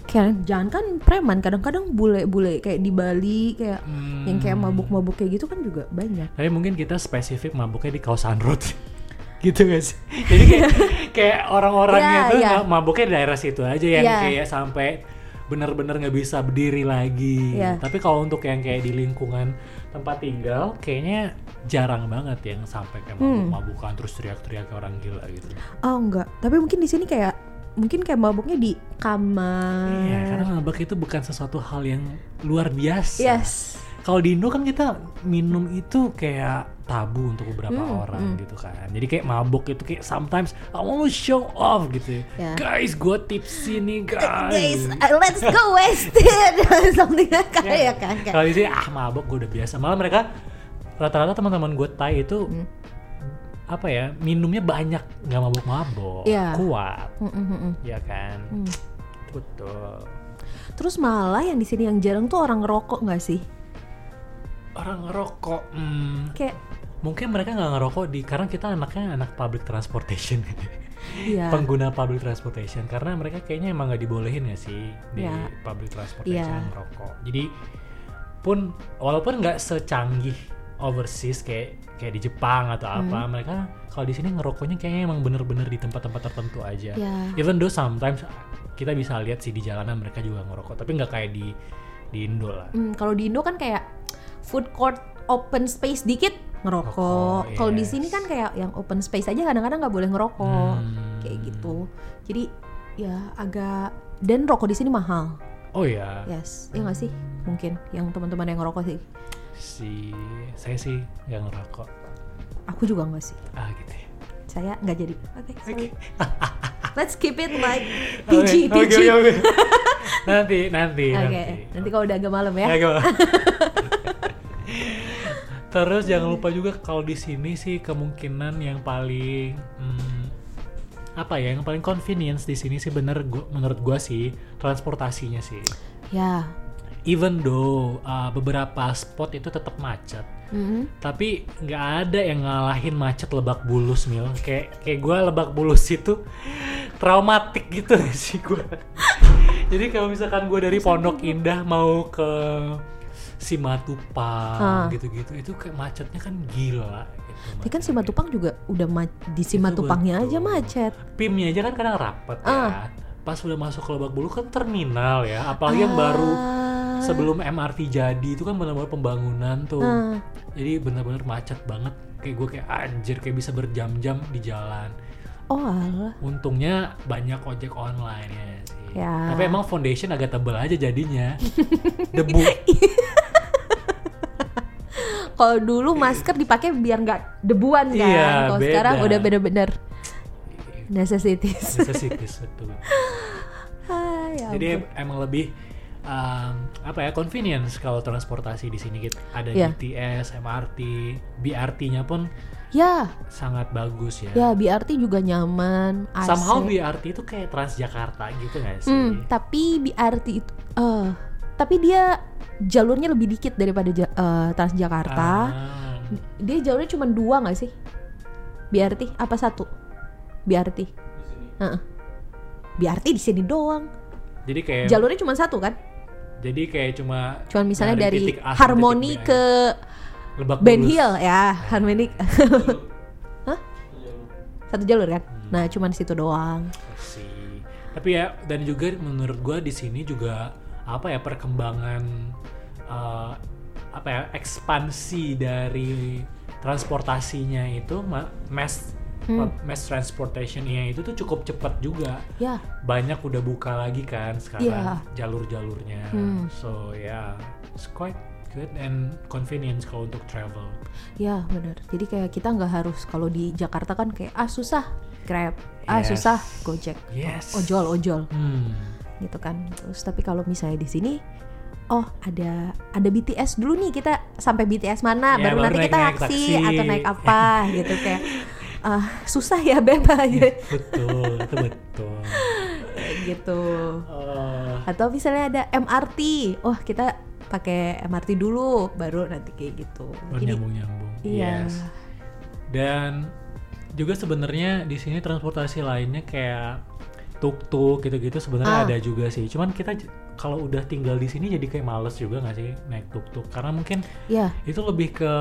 Kayak jangan kan preman, kadang-kadang bule-bule kayak di Bali kayak Hmm. yang kayak mabuk-mabuk kayak gitu kan juga banyak. Tapi mungkin kita spesifik mabuknya di kawasan road gitu gak sih? Jadi kayak, kayak orang-orangnya Ya, tuh ya. ma- mabuknya di daerah situ aja yang Ya. kayak sampai bener-bener nggak bisa berdiri lagi. Ya. Tapi kalau untuk yang kayak di lingkungan tempat tinggal, kayaknya jarang banget yang sampai kayak Hmm. mabuk-mabukan terus teriak-teriak kayak orang gila gitu. Oh enggak, tapi mungkin di sini kayak mungkin kayak mabuknya di kamar. Iya, karena mabak itu bukan sesuatu hal yang luar biasa. Yes. Kalau di Indo kan kita minum itu kayak tabu untuk beberapa Hmm, orang gitu kan. Jadi kayak mabuk itu kayak sometimes I want to show off gitu. Ya. Guys, gue tipsy nih Guys, guys. uh, let's go wasted something like that, ya kan kayak. Kalau di sini ah mabuk gue udah biasa. Malah mereka rata-rata teman-teman gue Thai itu Hmm. apa ya minumnya banyak nggak mabuk-mabuk Iya. kuat Mm, mm, mm, mm. ya kan Hmm. betul Terus malah yang di sini yang jarang tuh orang ngerokok nggak sih? orang ngerokok hmm, Kayak mungkin mereka nggak ngerokok di karena kita anaknya anak public transportation ya. pengguna public transportation karena mereka kayaknya emang nggak dibolehin ya sih di Ya. public transportation Ya. ngerokok jadi pun walaupun nggak secanggih overseas kayak kayak di Jepang atau Hmm. apa mereka kalau di sini ngerokoknya kayaknya emang bener-bener di tempat-tempat tertentu aja Ya. even though sometimes kita bisa lihat sih di jalanan mereka juga ngerokok tapi nggak kayak di di Indo lah Hmm, kalau di Indo kan kayak food court open space dikit ngerokok. Ngerokok, kalau di yes. sini kan kayak yang open space aja kadang-kadang nggak boleh ngerokok. Hmm. Kayak gitu. Jadi ya agak dan rokok di sini mahal. oh ya Yes, ya nggak sih? Mungkin yang teman-teman yang ngerokok sih. si saya sih nggak ngerokok Aku juga nggak sih. ah gitu ya. Saya nggak jadi. Oke, sorry. Oke. Let's keep it like Oke, PG, PG. oke, Iya, oke. nanti nanti Oke, nanti nanti kalau udah agak malam ya. Ya, gua- terus jangan lupa juga kalau di sini sih kemungkinan yang paling hmm, apa ya yang paling convenience di sini sih bener gua- menurut gua sih transportasinya sih Ya. even though uh, beberapa spot itu tetap macet Mm-mm. tapi nggak ada yang ngalahin macet Lebak Bulus mil kayak kayak gue Lebak Bulus itu traumatik gitu gak sih gue jadi kalau misalkan gue dari Pondok Indah mau ke Simatupang Ah. gitu-gitu itu kayak macetnya kan gila gitu Tapi kan Simatupang juga udah ma- di Simatupangnya aja betul. macet. Ah. Pimnya aja kan kadang rapet ya. pas udah masuk ke Lebak Bulus kan terminal ya apalagi yang baru Ah. sebelum MRT jadi itu kan benar-benar pembangunan tuh Ah. jadi benar-benar macet banget kayak gue kayak "Ah, anjir kayak bisa berjam-jam di jalan Oh alah. untungnya banyak ojek online ya sih Ya. tapi emang foundation agak tebel aja jadinya debu Kalau dulu masker dipakai biar nggak debuan kan. Iya, Kalau beda. sekarang udah bener-bener necessities. necessities betul Ah, ya jadi ampun. emang lebih um, apa ya convenience kalau transportasi di sini gitu ada Iya. BTS MRT BRT-nya pun ya, sangat bagus ya, ya BRT juga nyaman, AC. somehow BRT itu kayak Transjakarta gitu gak sih Hmm, tapi BRT itu eh, tapi dia jalurnya lebih dikit daripada Ja- eh, Transjakarta. Ah. Dia jalurnya cuma dua nggak sih? BRT apa satu? BRT. Heeh. BRT di sini doang. jadi kayak Jalurnya cuma satu kan? jadi kayak cuma Cuman misalnya dari, titik A sampai Harmoni titik B ke aja. Lebak Ben Bulus. Hill ya, Harmoni. Hah? Iya, Satu jalur kan? Hmm. Nah, cuman di situ doang. sih tapi ya dan juga menurut gua di sini juga apa ya perkembangan eh, apa ya ekspansi dari transportasinya itu ma- mass Hmm. mass transportationnya itu tuh cukup cepat juga Ya, banyak udah buka lagi kan sekarang Iya. Hmm. jalur-jalurnya so ya it's quite good and convenience kalau untuk travel ya benar. Jadi kayak kita nggak harus kalau di Jakarta kan kayak ah susah Grab, ah Yes. susah Gojek, yes ojol ojol hmm. gitu kan. Terus tapi kalau misalnya di sini Oh ada ada BTS dulu nih kita sampai BTS mana Ya, Iya, baru, baru nanti naik- kita naik taksi, taksi. atau naik apa gitu kayak ah, susah ya Beba betul itu betul gitu Eh, atau misalnya ada MRT wah oh, kita pakai MRT dulu baru nanti kayak gitu jadi nyambung nyambung iya yes dan juga sebenarnya di sini transportasi lainnya kayak tuk-tuk gitu-gitu sebenarnya Ah. ada juga sih cuman kita j- kalau udah tinggal di sini jadi kayak males juga nggak sih naik tuk-tuk karena mungkin ya itu lebih ke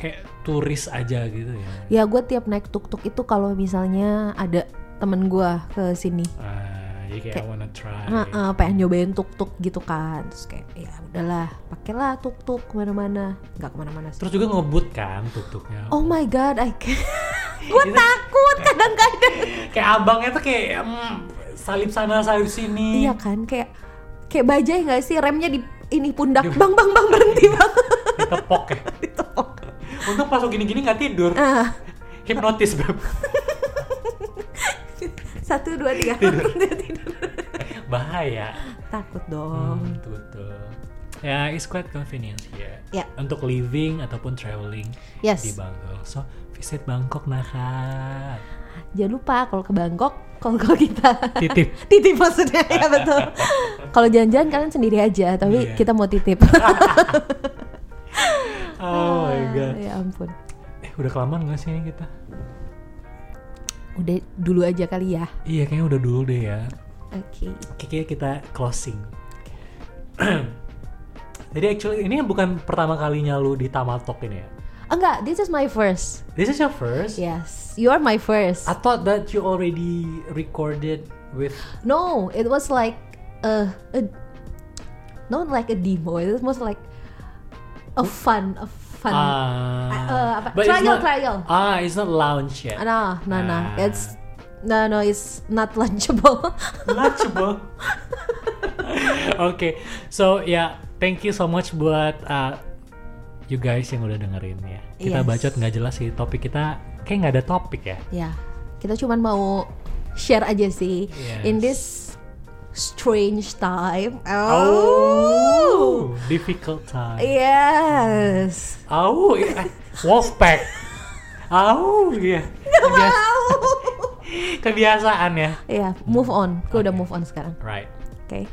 kayak turis aja gitu ya ya gue tiap naik tuk tuk itu kalau misalnya ada temen gue ke sini Ah, jadi kayak I wanna try Nah, eh, pengen nyobain tuk tuk gitu kan terus kayak ya udahlah pakailah tuk tuk kemana-mana nggak kemana-mana sih terus juga ngebut kan tuk-tuknya oh my god I can- gue takut kadang-kadang kayak abangnya tuh kayak mm, salip sana salip sini iya kan kayak kayak bajai nggak sih remnya di ini pundak bang bang bang berhenti bang Gitu. ditepok ya Ditepok. untung pas lu gini-gini nggak tidur ah hipnotis beb satu dua tiga Dia tidur. bahaya takut dong Hmm, betul betul ya it's quite convenient ya Ya. untuk living ataupun traveling Yes. di Bangkok so visit Bangkok Naka jangan lupa kalau ke Bangkok kalau kalau kita titip titip maksudnya ya betul kalau jalan-jalan kalian sendiri aja tapi Iya. kita mau titip oh my god ya ampun eh udah kelamaan nggak sih ini kita udah dulu aja kali ya iya kayaknya udah dulu deh ya oke kayaknya kita closing jadi actually ini bukan pertama kalinya lu di Tamatok ini ya Oh, enggak this is my first this is your first yes you are my first I thought that you already recorded with no it was like a, a not like a demo it was like a fun a fun Ah. eh, apa? But it's Trial, not- trial. Ah, it's not lounge yet. no no no Ah. it's no no it's not lunchable Lunchable. Oke, so ya thank you so much buat uh, you guys yang udah dengerin ya. Kita Yes. bacot nggak jelas sih topik kita kayak nggak ada topik ya. Ya, kita cuman mau share aja sih Yes. in this strange time. Oh, difficult time. Iya. Yes. Oh, iya. wolf pack. Oh, iya. Kebias- kebiasaan ya. ya, move on. Gue udah move on sekarang. Right. Oke.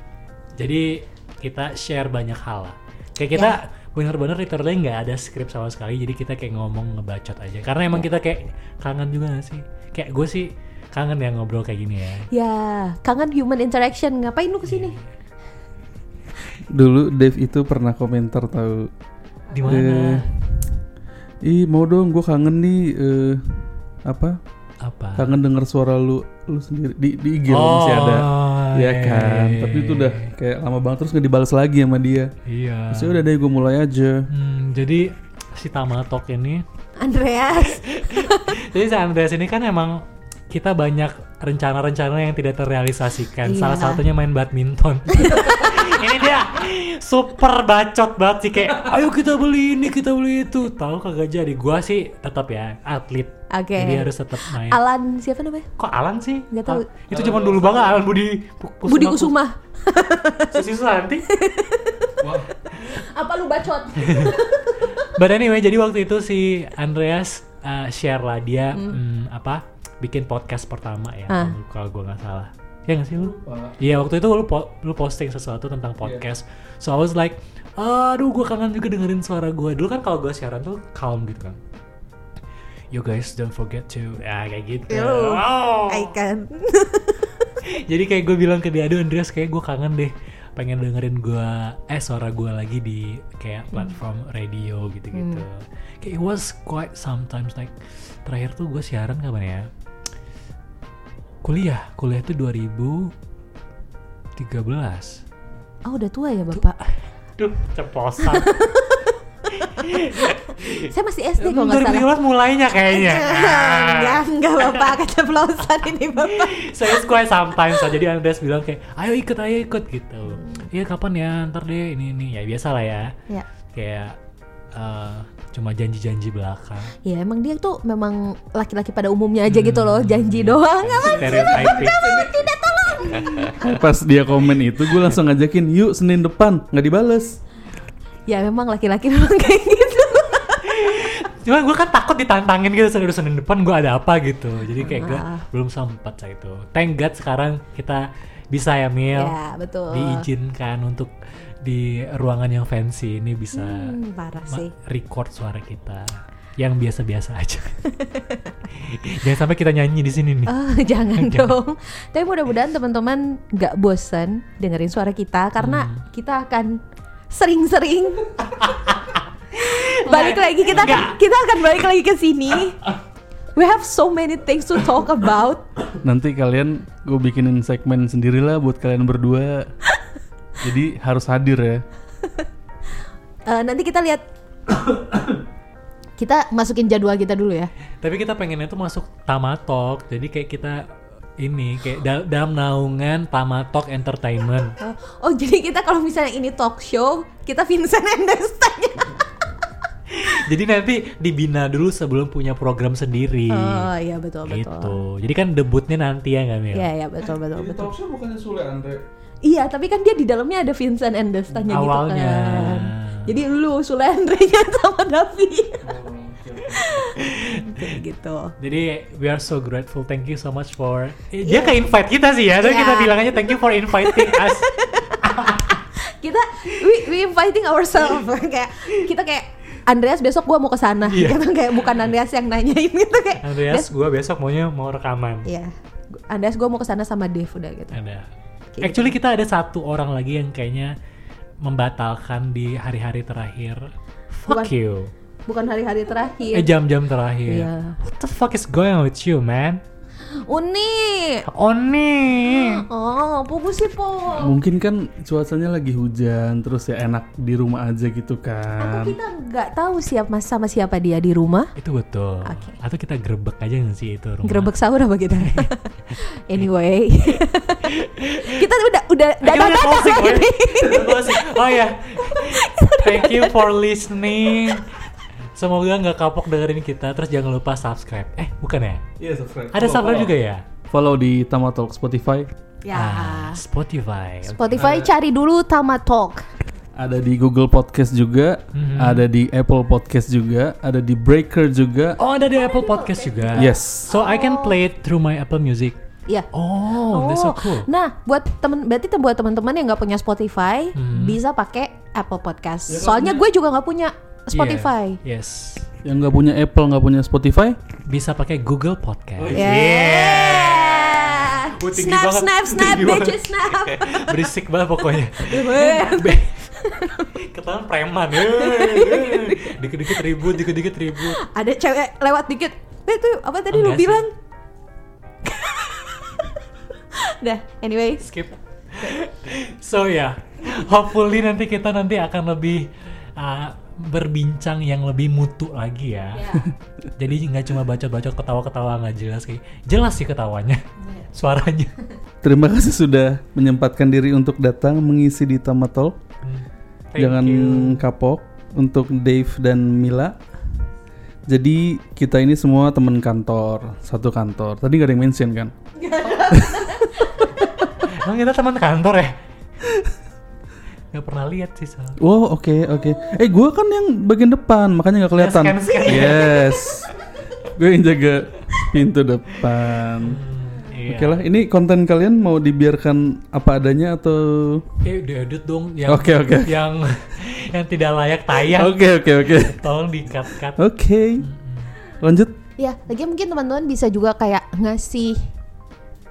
Jadi kita share banyak hal lah. Kayak kita bener-bener literally nggak ada skrip sama sekali. Jadi kita kayak ngomong ngebacot aja. Karena emang kita kayak kangen juga gak sih. Kayak gue sih kangen ya ngobrol kayak gini ya. Ya, kangen human interaction. Ngapain lu kesini? Dulu Dave itu pernah komentar tahu. Di mana? Eh, Ih mau dong, gue kangen nih eh, apa? Apa? kangen denger suara lu lu sendiri di di IG lu masih ada ya kan tapi itu udah kayak lama banget terus nggak dibales lagi sama dia Iya. Terus udah deh gue mulai aja Hmm, jadi si Tamatok ini, Andreas jadi si Andreas ini kan emang kita banyak rencana-rencana yang tidak terrealisasikan. Iya. Salah satunya main badminton. ini dia super bacot banget sih kayak, ayo kita beli ini, kita beli itu. Tahu kagak jadi. Gua sih tetap ya atlet. Oke. Jadi harus tetap main. Alan siapa namanya Kok Alan sih? Nggak tahu. Al- itu zaman dulu banget Alan Budi Pu- Pusuma- Budi Kusuma Susi Susanti. apa lu bacot But anyway, jadi waktu itu si Andreas uh, share lah dia mm, apa bikin podcast pertama ya Ah. kalau- kalau gua nggak salah. Ya nggak sih lu? Iya waktu itu lu po- lu posting sesuatu tentang podcast. So I was like, aduh gua kangen juga dengerin suara gua. Dulu kan kalau gua siaran tuh calm gitu kan. You guys don't forget to ya kayak gitu. Yo, Wow. Icon Jadi kayak gue bilang ke dia, aduh Andreas kayak gue kangen deh pengen dengerin gue eh suara gue lagi di kayak platform radio gitu-gitu. Hmm. Kayak it was quite sometimes like terakhir tuh gue siaran kapan ya? Kuliah, kuliah tuh 2013. ah udah tua ya bapak Duh, ceplosan. saya masih SD kalau nggak salah 2013 mulainya kayaknya. Ah, enggak enggak bapak keceplosan ini bapak so it's quite sometimes lah. jadi Andreas bilang kayak ayo ikut ayo ikut gitu Hmm. iya kapan ya ntar deh ini ini ya biasa lah ya ya kayak eh, cuma janji-janji belakang ya emang dia tuh memang laki-laki pada umumnya aja gitu loh Hmm, janji iya. doang apa stereotyping tidak tolong Pas dia komen itu gue langsung ngajakin Yuk Senin depan nggak dibales ya memang laki-laki memang kayak gitu cuma gue kan takut ditantangin gitu senin senin depan gue ada apa gitu jadi kayak gue belum sempat saya itu thank god sekarang kita bisa ya Mil ya betul diizinkan untuk di ruangan yang fancy ini bisa Hmm, parah Nah, Ma- sih record suara kita yang biasa-biasa aja. Jangan sampai kita nyanyi di sini nih. Oh, jangan dong. Tapi mudah-mudahan teman-teman nggak bosan dengerin suara kita karena kita akan sering-sering balik lagi kita akan, kita akan balik lagi ke sini. We have so many things to talk about. Nanti kalian gue bikinin segmen sendirilah buat kalian berdua Jadi harus hadir ya Eh, nanti kita lihat kita masukin jadwal kita dulu ya. Tapi kita pengennya tuh masuk Tamatok. Jadi kayak kita ini kayak dal- dalam naungan Tamatok Entertainment. Eh, Oh jadi kita kalau misalnya ini talk show kita Vincent and Destan. Jadi nanti dibina dulu sebelum punya program sendiri. Oh iya betul betul. gitu. Jadi kan debutnya nanti ya nggak Mil? Iya iya betul betul betul. show bukannya Sule Andre Iya, tapi kan dia di dalamnya ada Vincent and Destanya gitu Awalnya. kan. Jadi lu Sule Andre-nya sama Davi. gitu. Jadi we are so grateful. Thank you so much for Eh, dia ke invite kita sih ya. Tapi Iya. kita bilang aja thank you for inviting us. Kita we, we inviting ourselves kayak kita kayak Andreas besok gua mau ke sana Iya. gitu kayak bukan Andreas yang nanyain gitu kayak. Andreas, gue besok maunya mau rekaman. Iya. Andreas gua mau ke sana sama Dev udah gitu. Ada. Kayak Actually kita ada satu orang lagi yang kayaknya membatalkan di hari-hari terakhir. Fuck Bukan. you. Bukan hari-hari Eh terakhir. jam-jam terakhir. Iya. What the fuck is going on with you, man? Uni. Oni. Oh, pupu sih, Po. Mungkin kan cuacanya lagi hujan Terus ya enak di rumah aja gitu Atau kan kita nggak tahu siap mas sama siapa dia di rumah. Itu betul. Oke. Atau kita grebek aja nggak sih itu rumah? Eh, Gerebek sahur apa gitu? anyway, kita udah udah Eh, kita dadah udah dadah closing, lagi Wan. nih. Udah closing. Oh ya. Thank you for listening. Semoga nggak kapok dengerin kita. Terus jangan lupa subscribe. Eh, bukan ya? Iya subscribe Oh, Ada subscribe juga ya? Follow di Tama Talk Spotify Ya. Ah, Spotify. Ah. Spotify cari dulu Tama Talk. Ada di Google Podcast juga Mhm. Ada di Apple Podcast juga Ada di Breaker juga Oh, ada di Apple Podcast juga. Yes So I can play it through my Apple Music. Ya. Oh, that's so Oh, cool. Nah, buat temen berarti tem- buat teman-teman yang nggak punya Spotify Hmm. bisa pakai Apple Podcast. Ya, Soalnya gue juga nggak punya Spotify. Iya, Yes. Yang nggak punya Apple nggak punya Spotify Bisa pakai Google Podcast. Yeah. Oh, tinggi Snap, banget. snap, snap, Tinggi banget. bitches, snap. Berisik banget pokoknya. Be- Ketahuan preman. Eh, eh. Dikit-dikit ribut, dikit-dikit ribut. Ada cewek lewat dikit. Eh, Itu apa tadi lu Enggak sih. bilang? Dah, anyway. skip so ya hopefully nanti kita nanti akan lebih uh, berbincang yang lebih mutu lagi ya jadi nggak cuma bacot-bacot ketawa-ketawa nggak jelas kayak jelas sih ketawanya suaranya Terima kasih sudah menyempatkan diri untuk datang mengisi di Tamatol. Thank Jangan you. kapok untuk Dave dan Mila. Jadi kita ini semua teman kantor, satu kantor. Tadi nggak ada yang mention kan? emang kita teman kantor ya nggak pernah lihat sih soalnya Wow, Oh, oke oke. Eh, gua kan yang bagian depan, makanya nggak kelihatan. scan, scan. Yes, gue yang jaga pintu depan. Hmm, iya. Oke lah, ini konten kalian mau dibiarkan apa adanya atau? eh diedit dong yang Oke, oke. yang yang tidak layak tayang Oke oke oke. tolong di cut cut Oke, lanjut. Ya, lagi mungkin teman-teman bisa juga kayak ngasih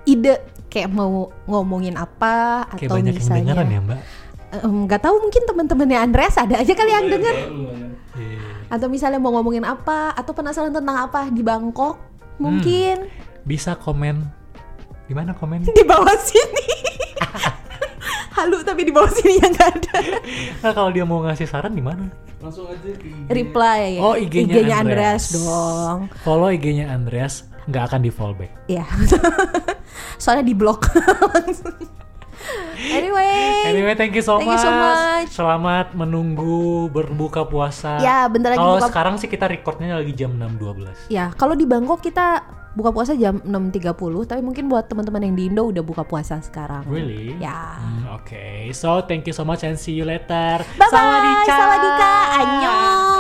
ide kayak mau ngomongin apa kayak atau banyak yang misalnya dengeran ya mbak Em, nggak tahu mungkin teman-temannya Andreas ada aja kali yang denger Iya. atau misalnya mau ngomongin apa atau penasaran tentang apa di Bangkok mungkin Hmm. bisa komen di mana komen di bawah sini halu tapi di bawah sini yang nggak ada Nah, kalau dia mau ngasih saran di mana? Langsung aja ke reply ya. Oh, IG-nya Iya, Andreas. Andreas. dong Follow IG-nya Andreas, nggak akan di follow back. ya soalnya di blok anyway Anyway, thank you so Thank much. you so much. Selamat menunggu berbuka puasa. Ya, bentar lagi Kalau buka- sekarang sih kita recordnya lagi jam 6.12. ya kalau di Bangkok kita buka puasa jam 6.30 tapi mungkin buat teman-teman yang di Indo udah buka puasa sekarang Really? ya Hmm, Oke, so thank you so much and see you later. bye bye Sawadika. sawadika annyeong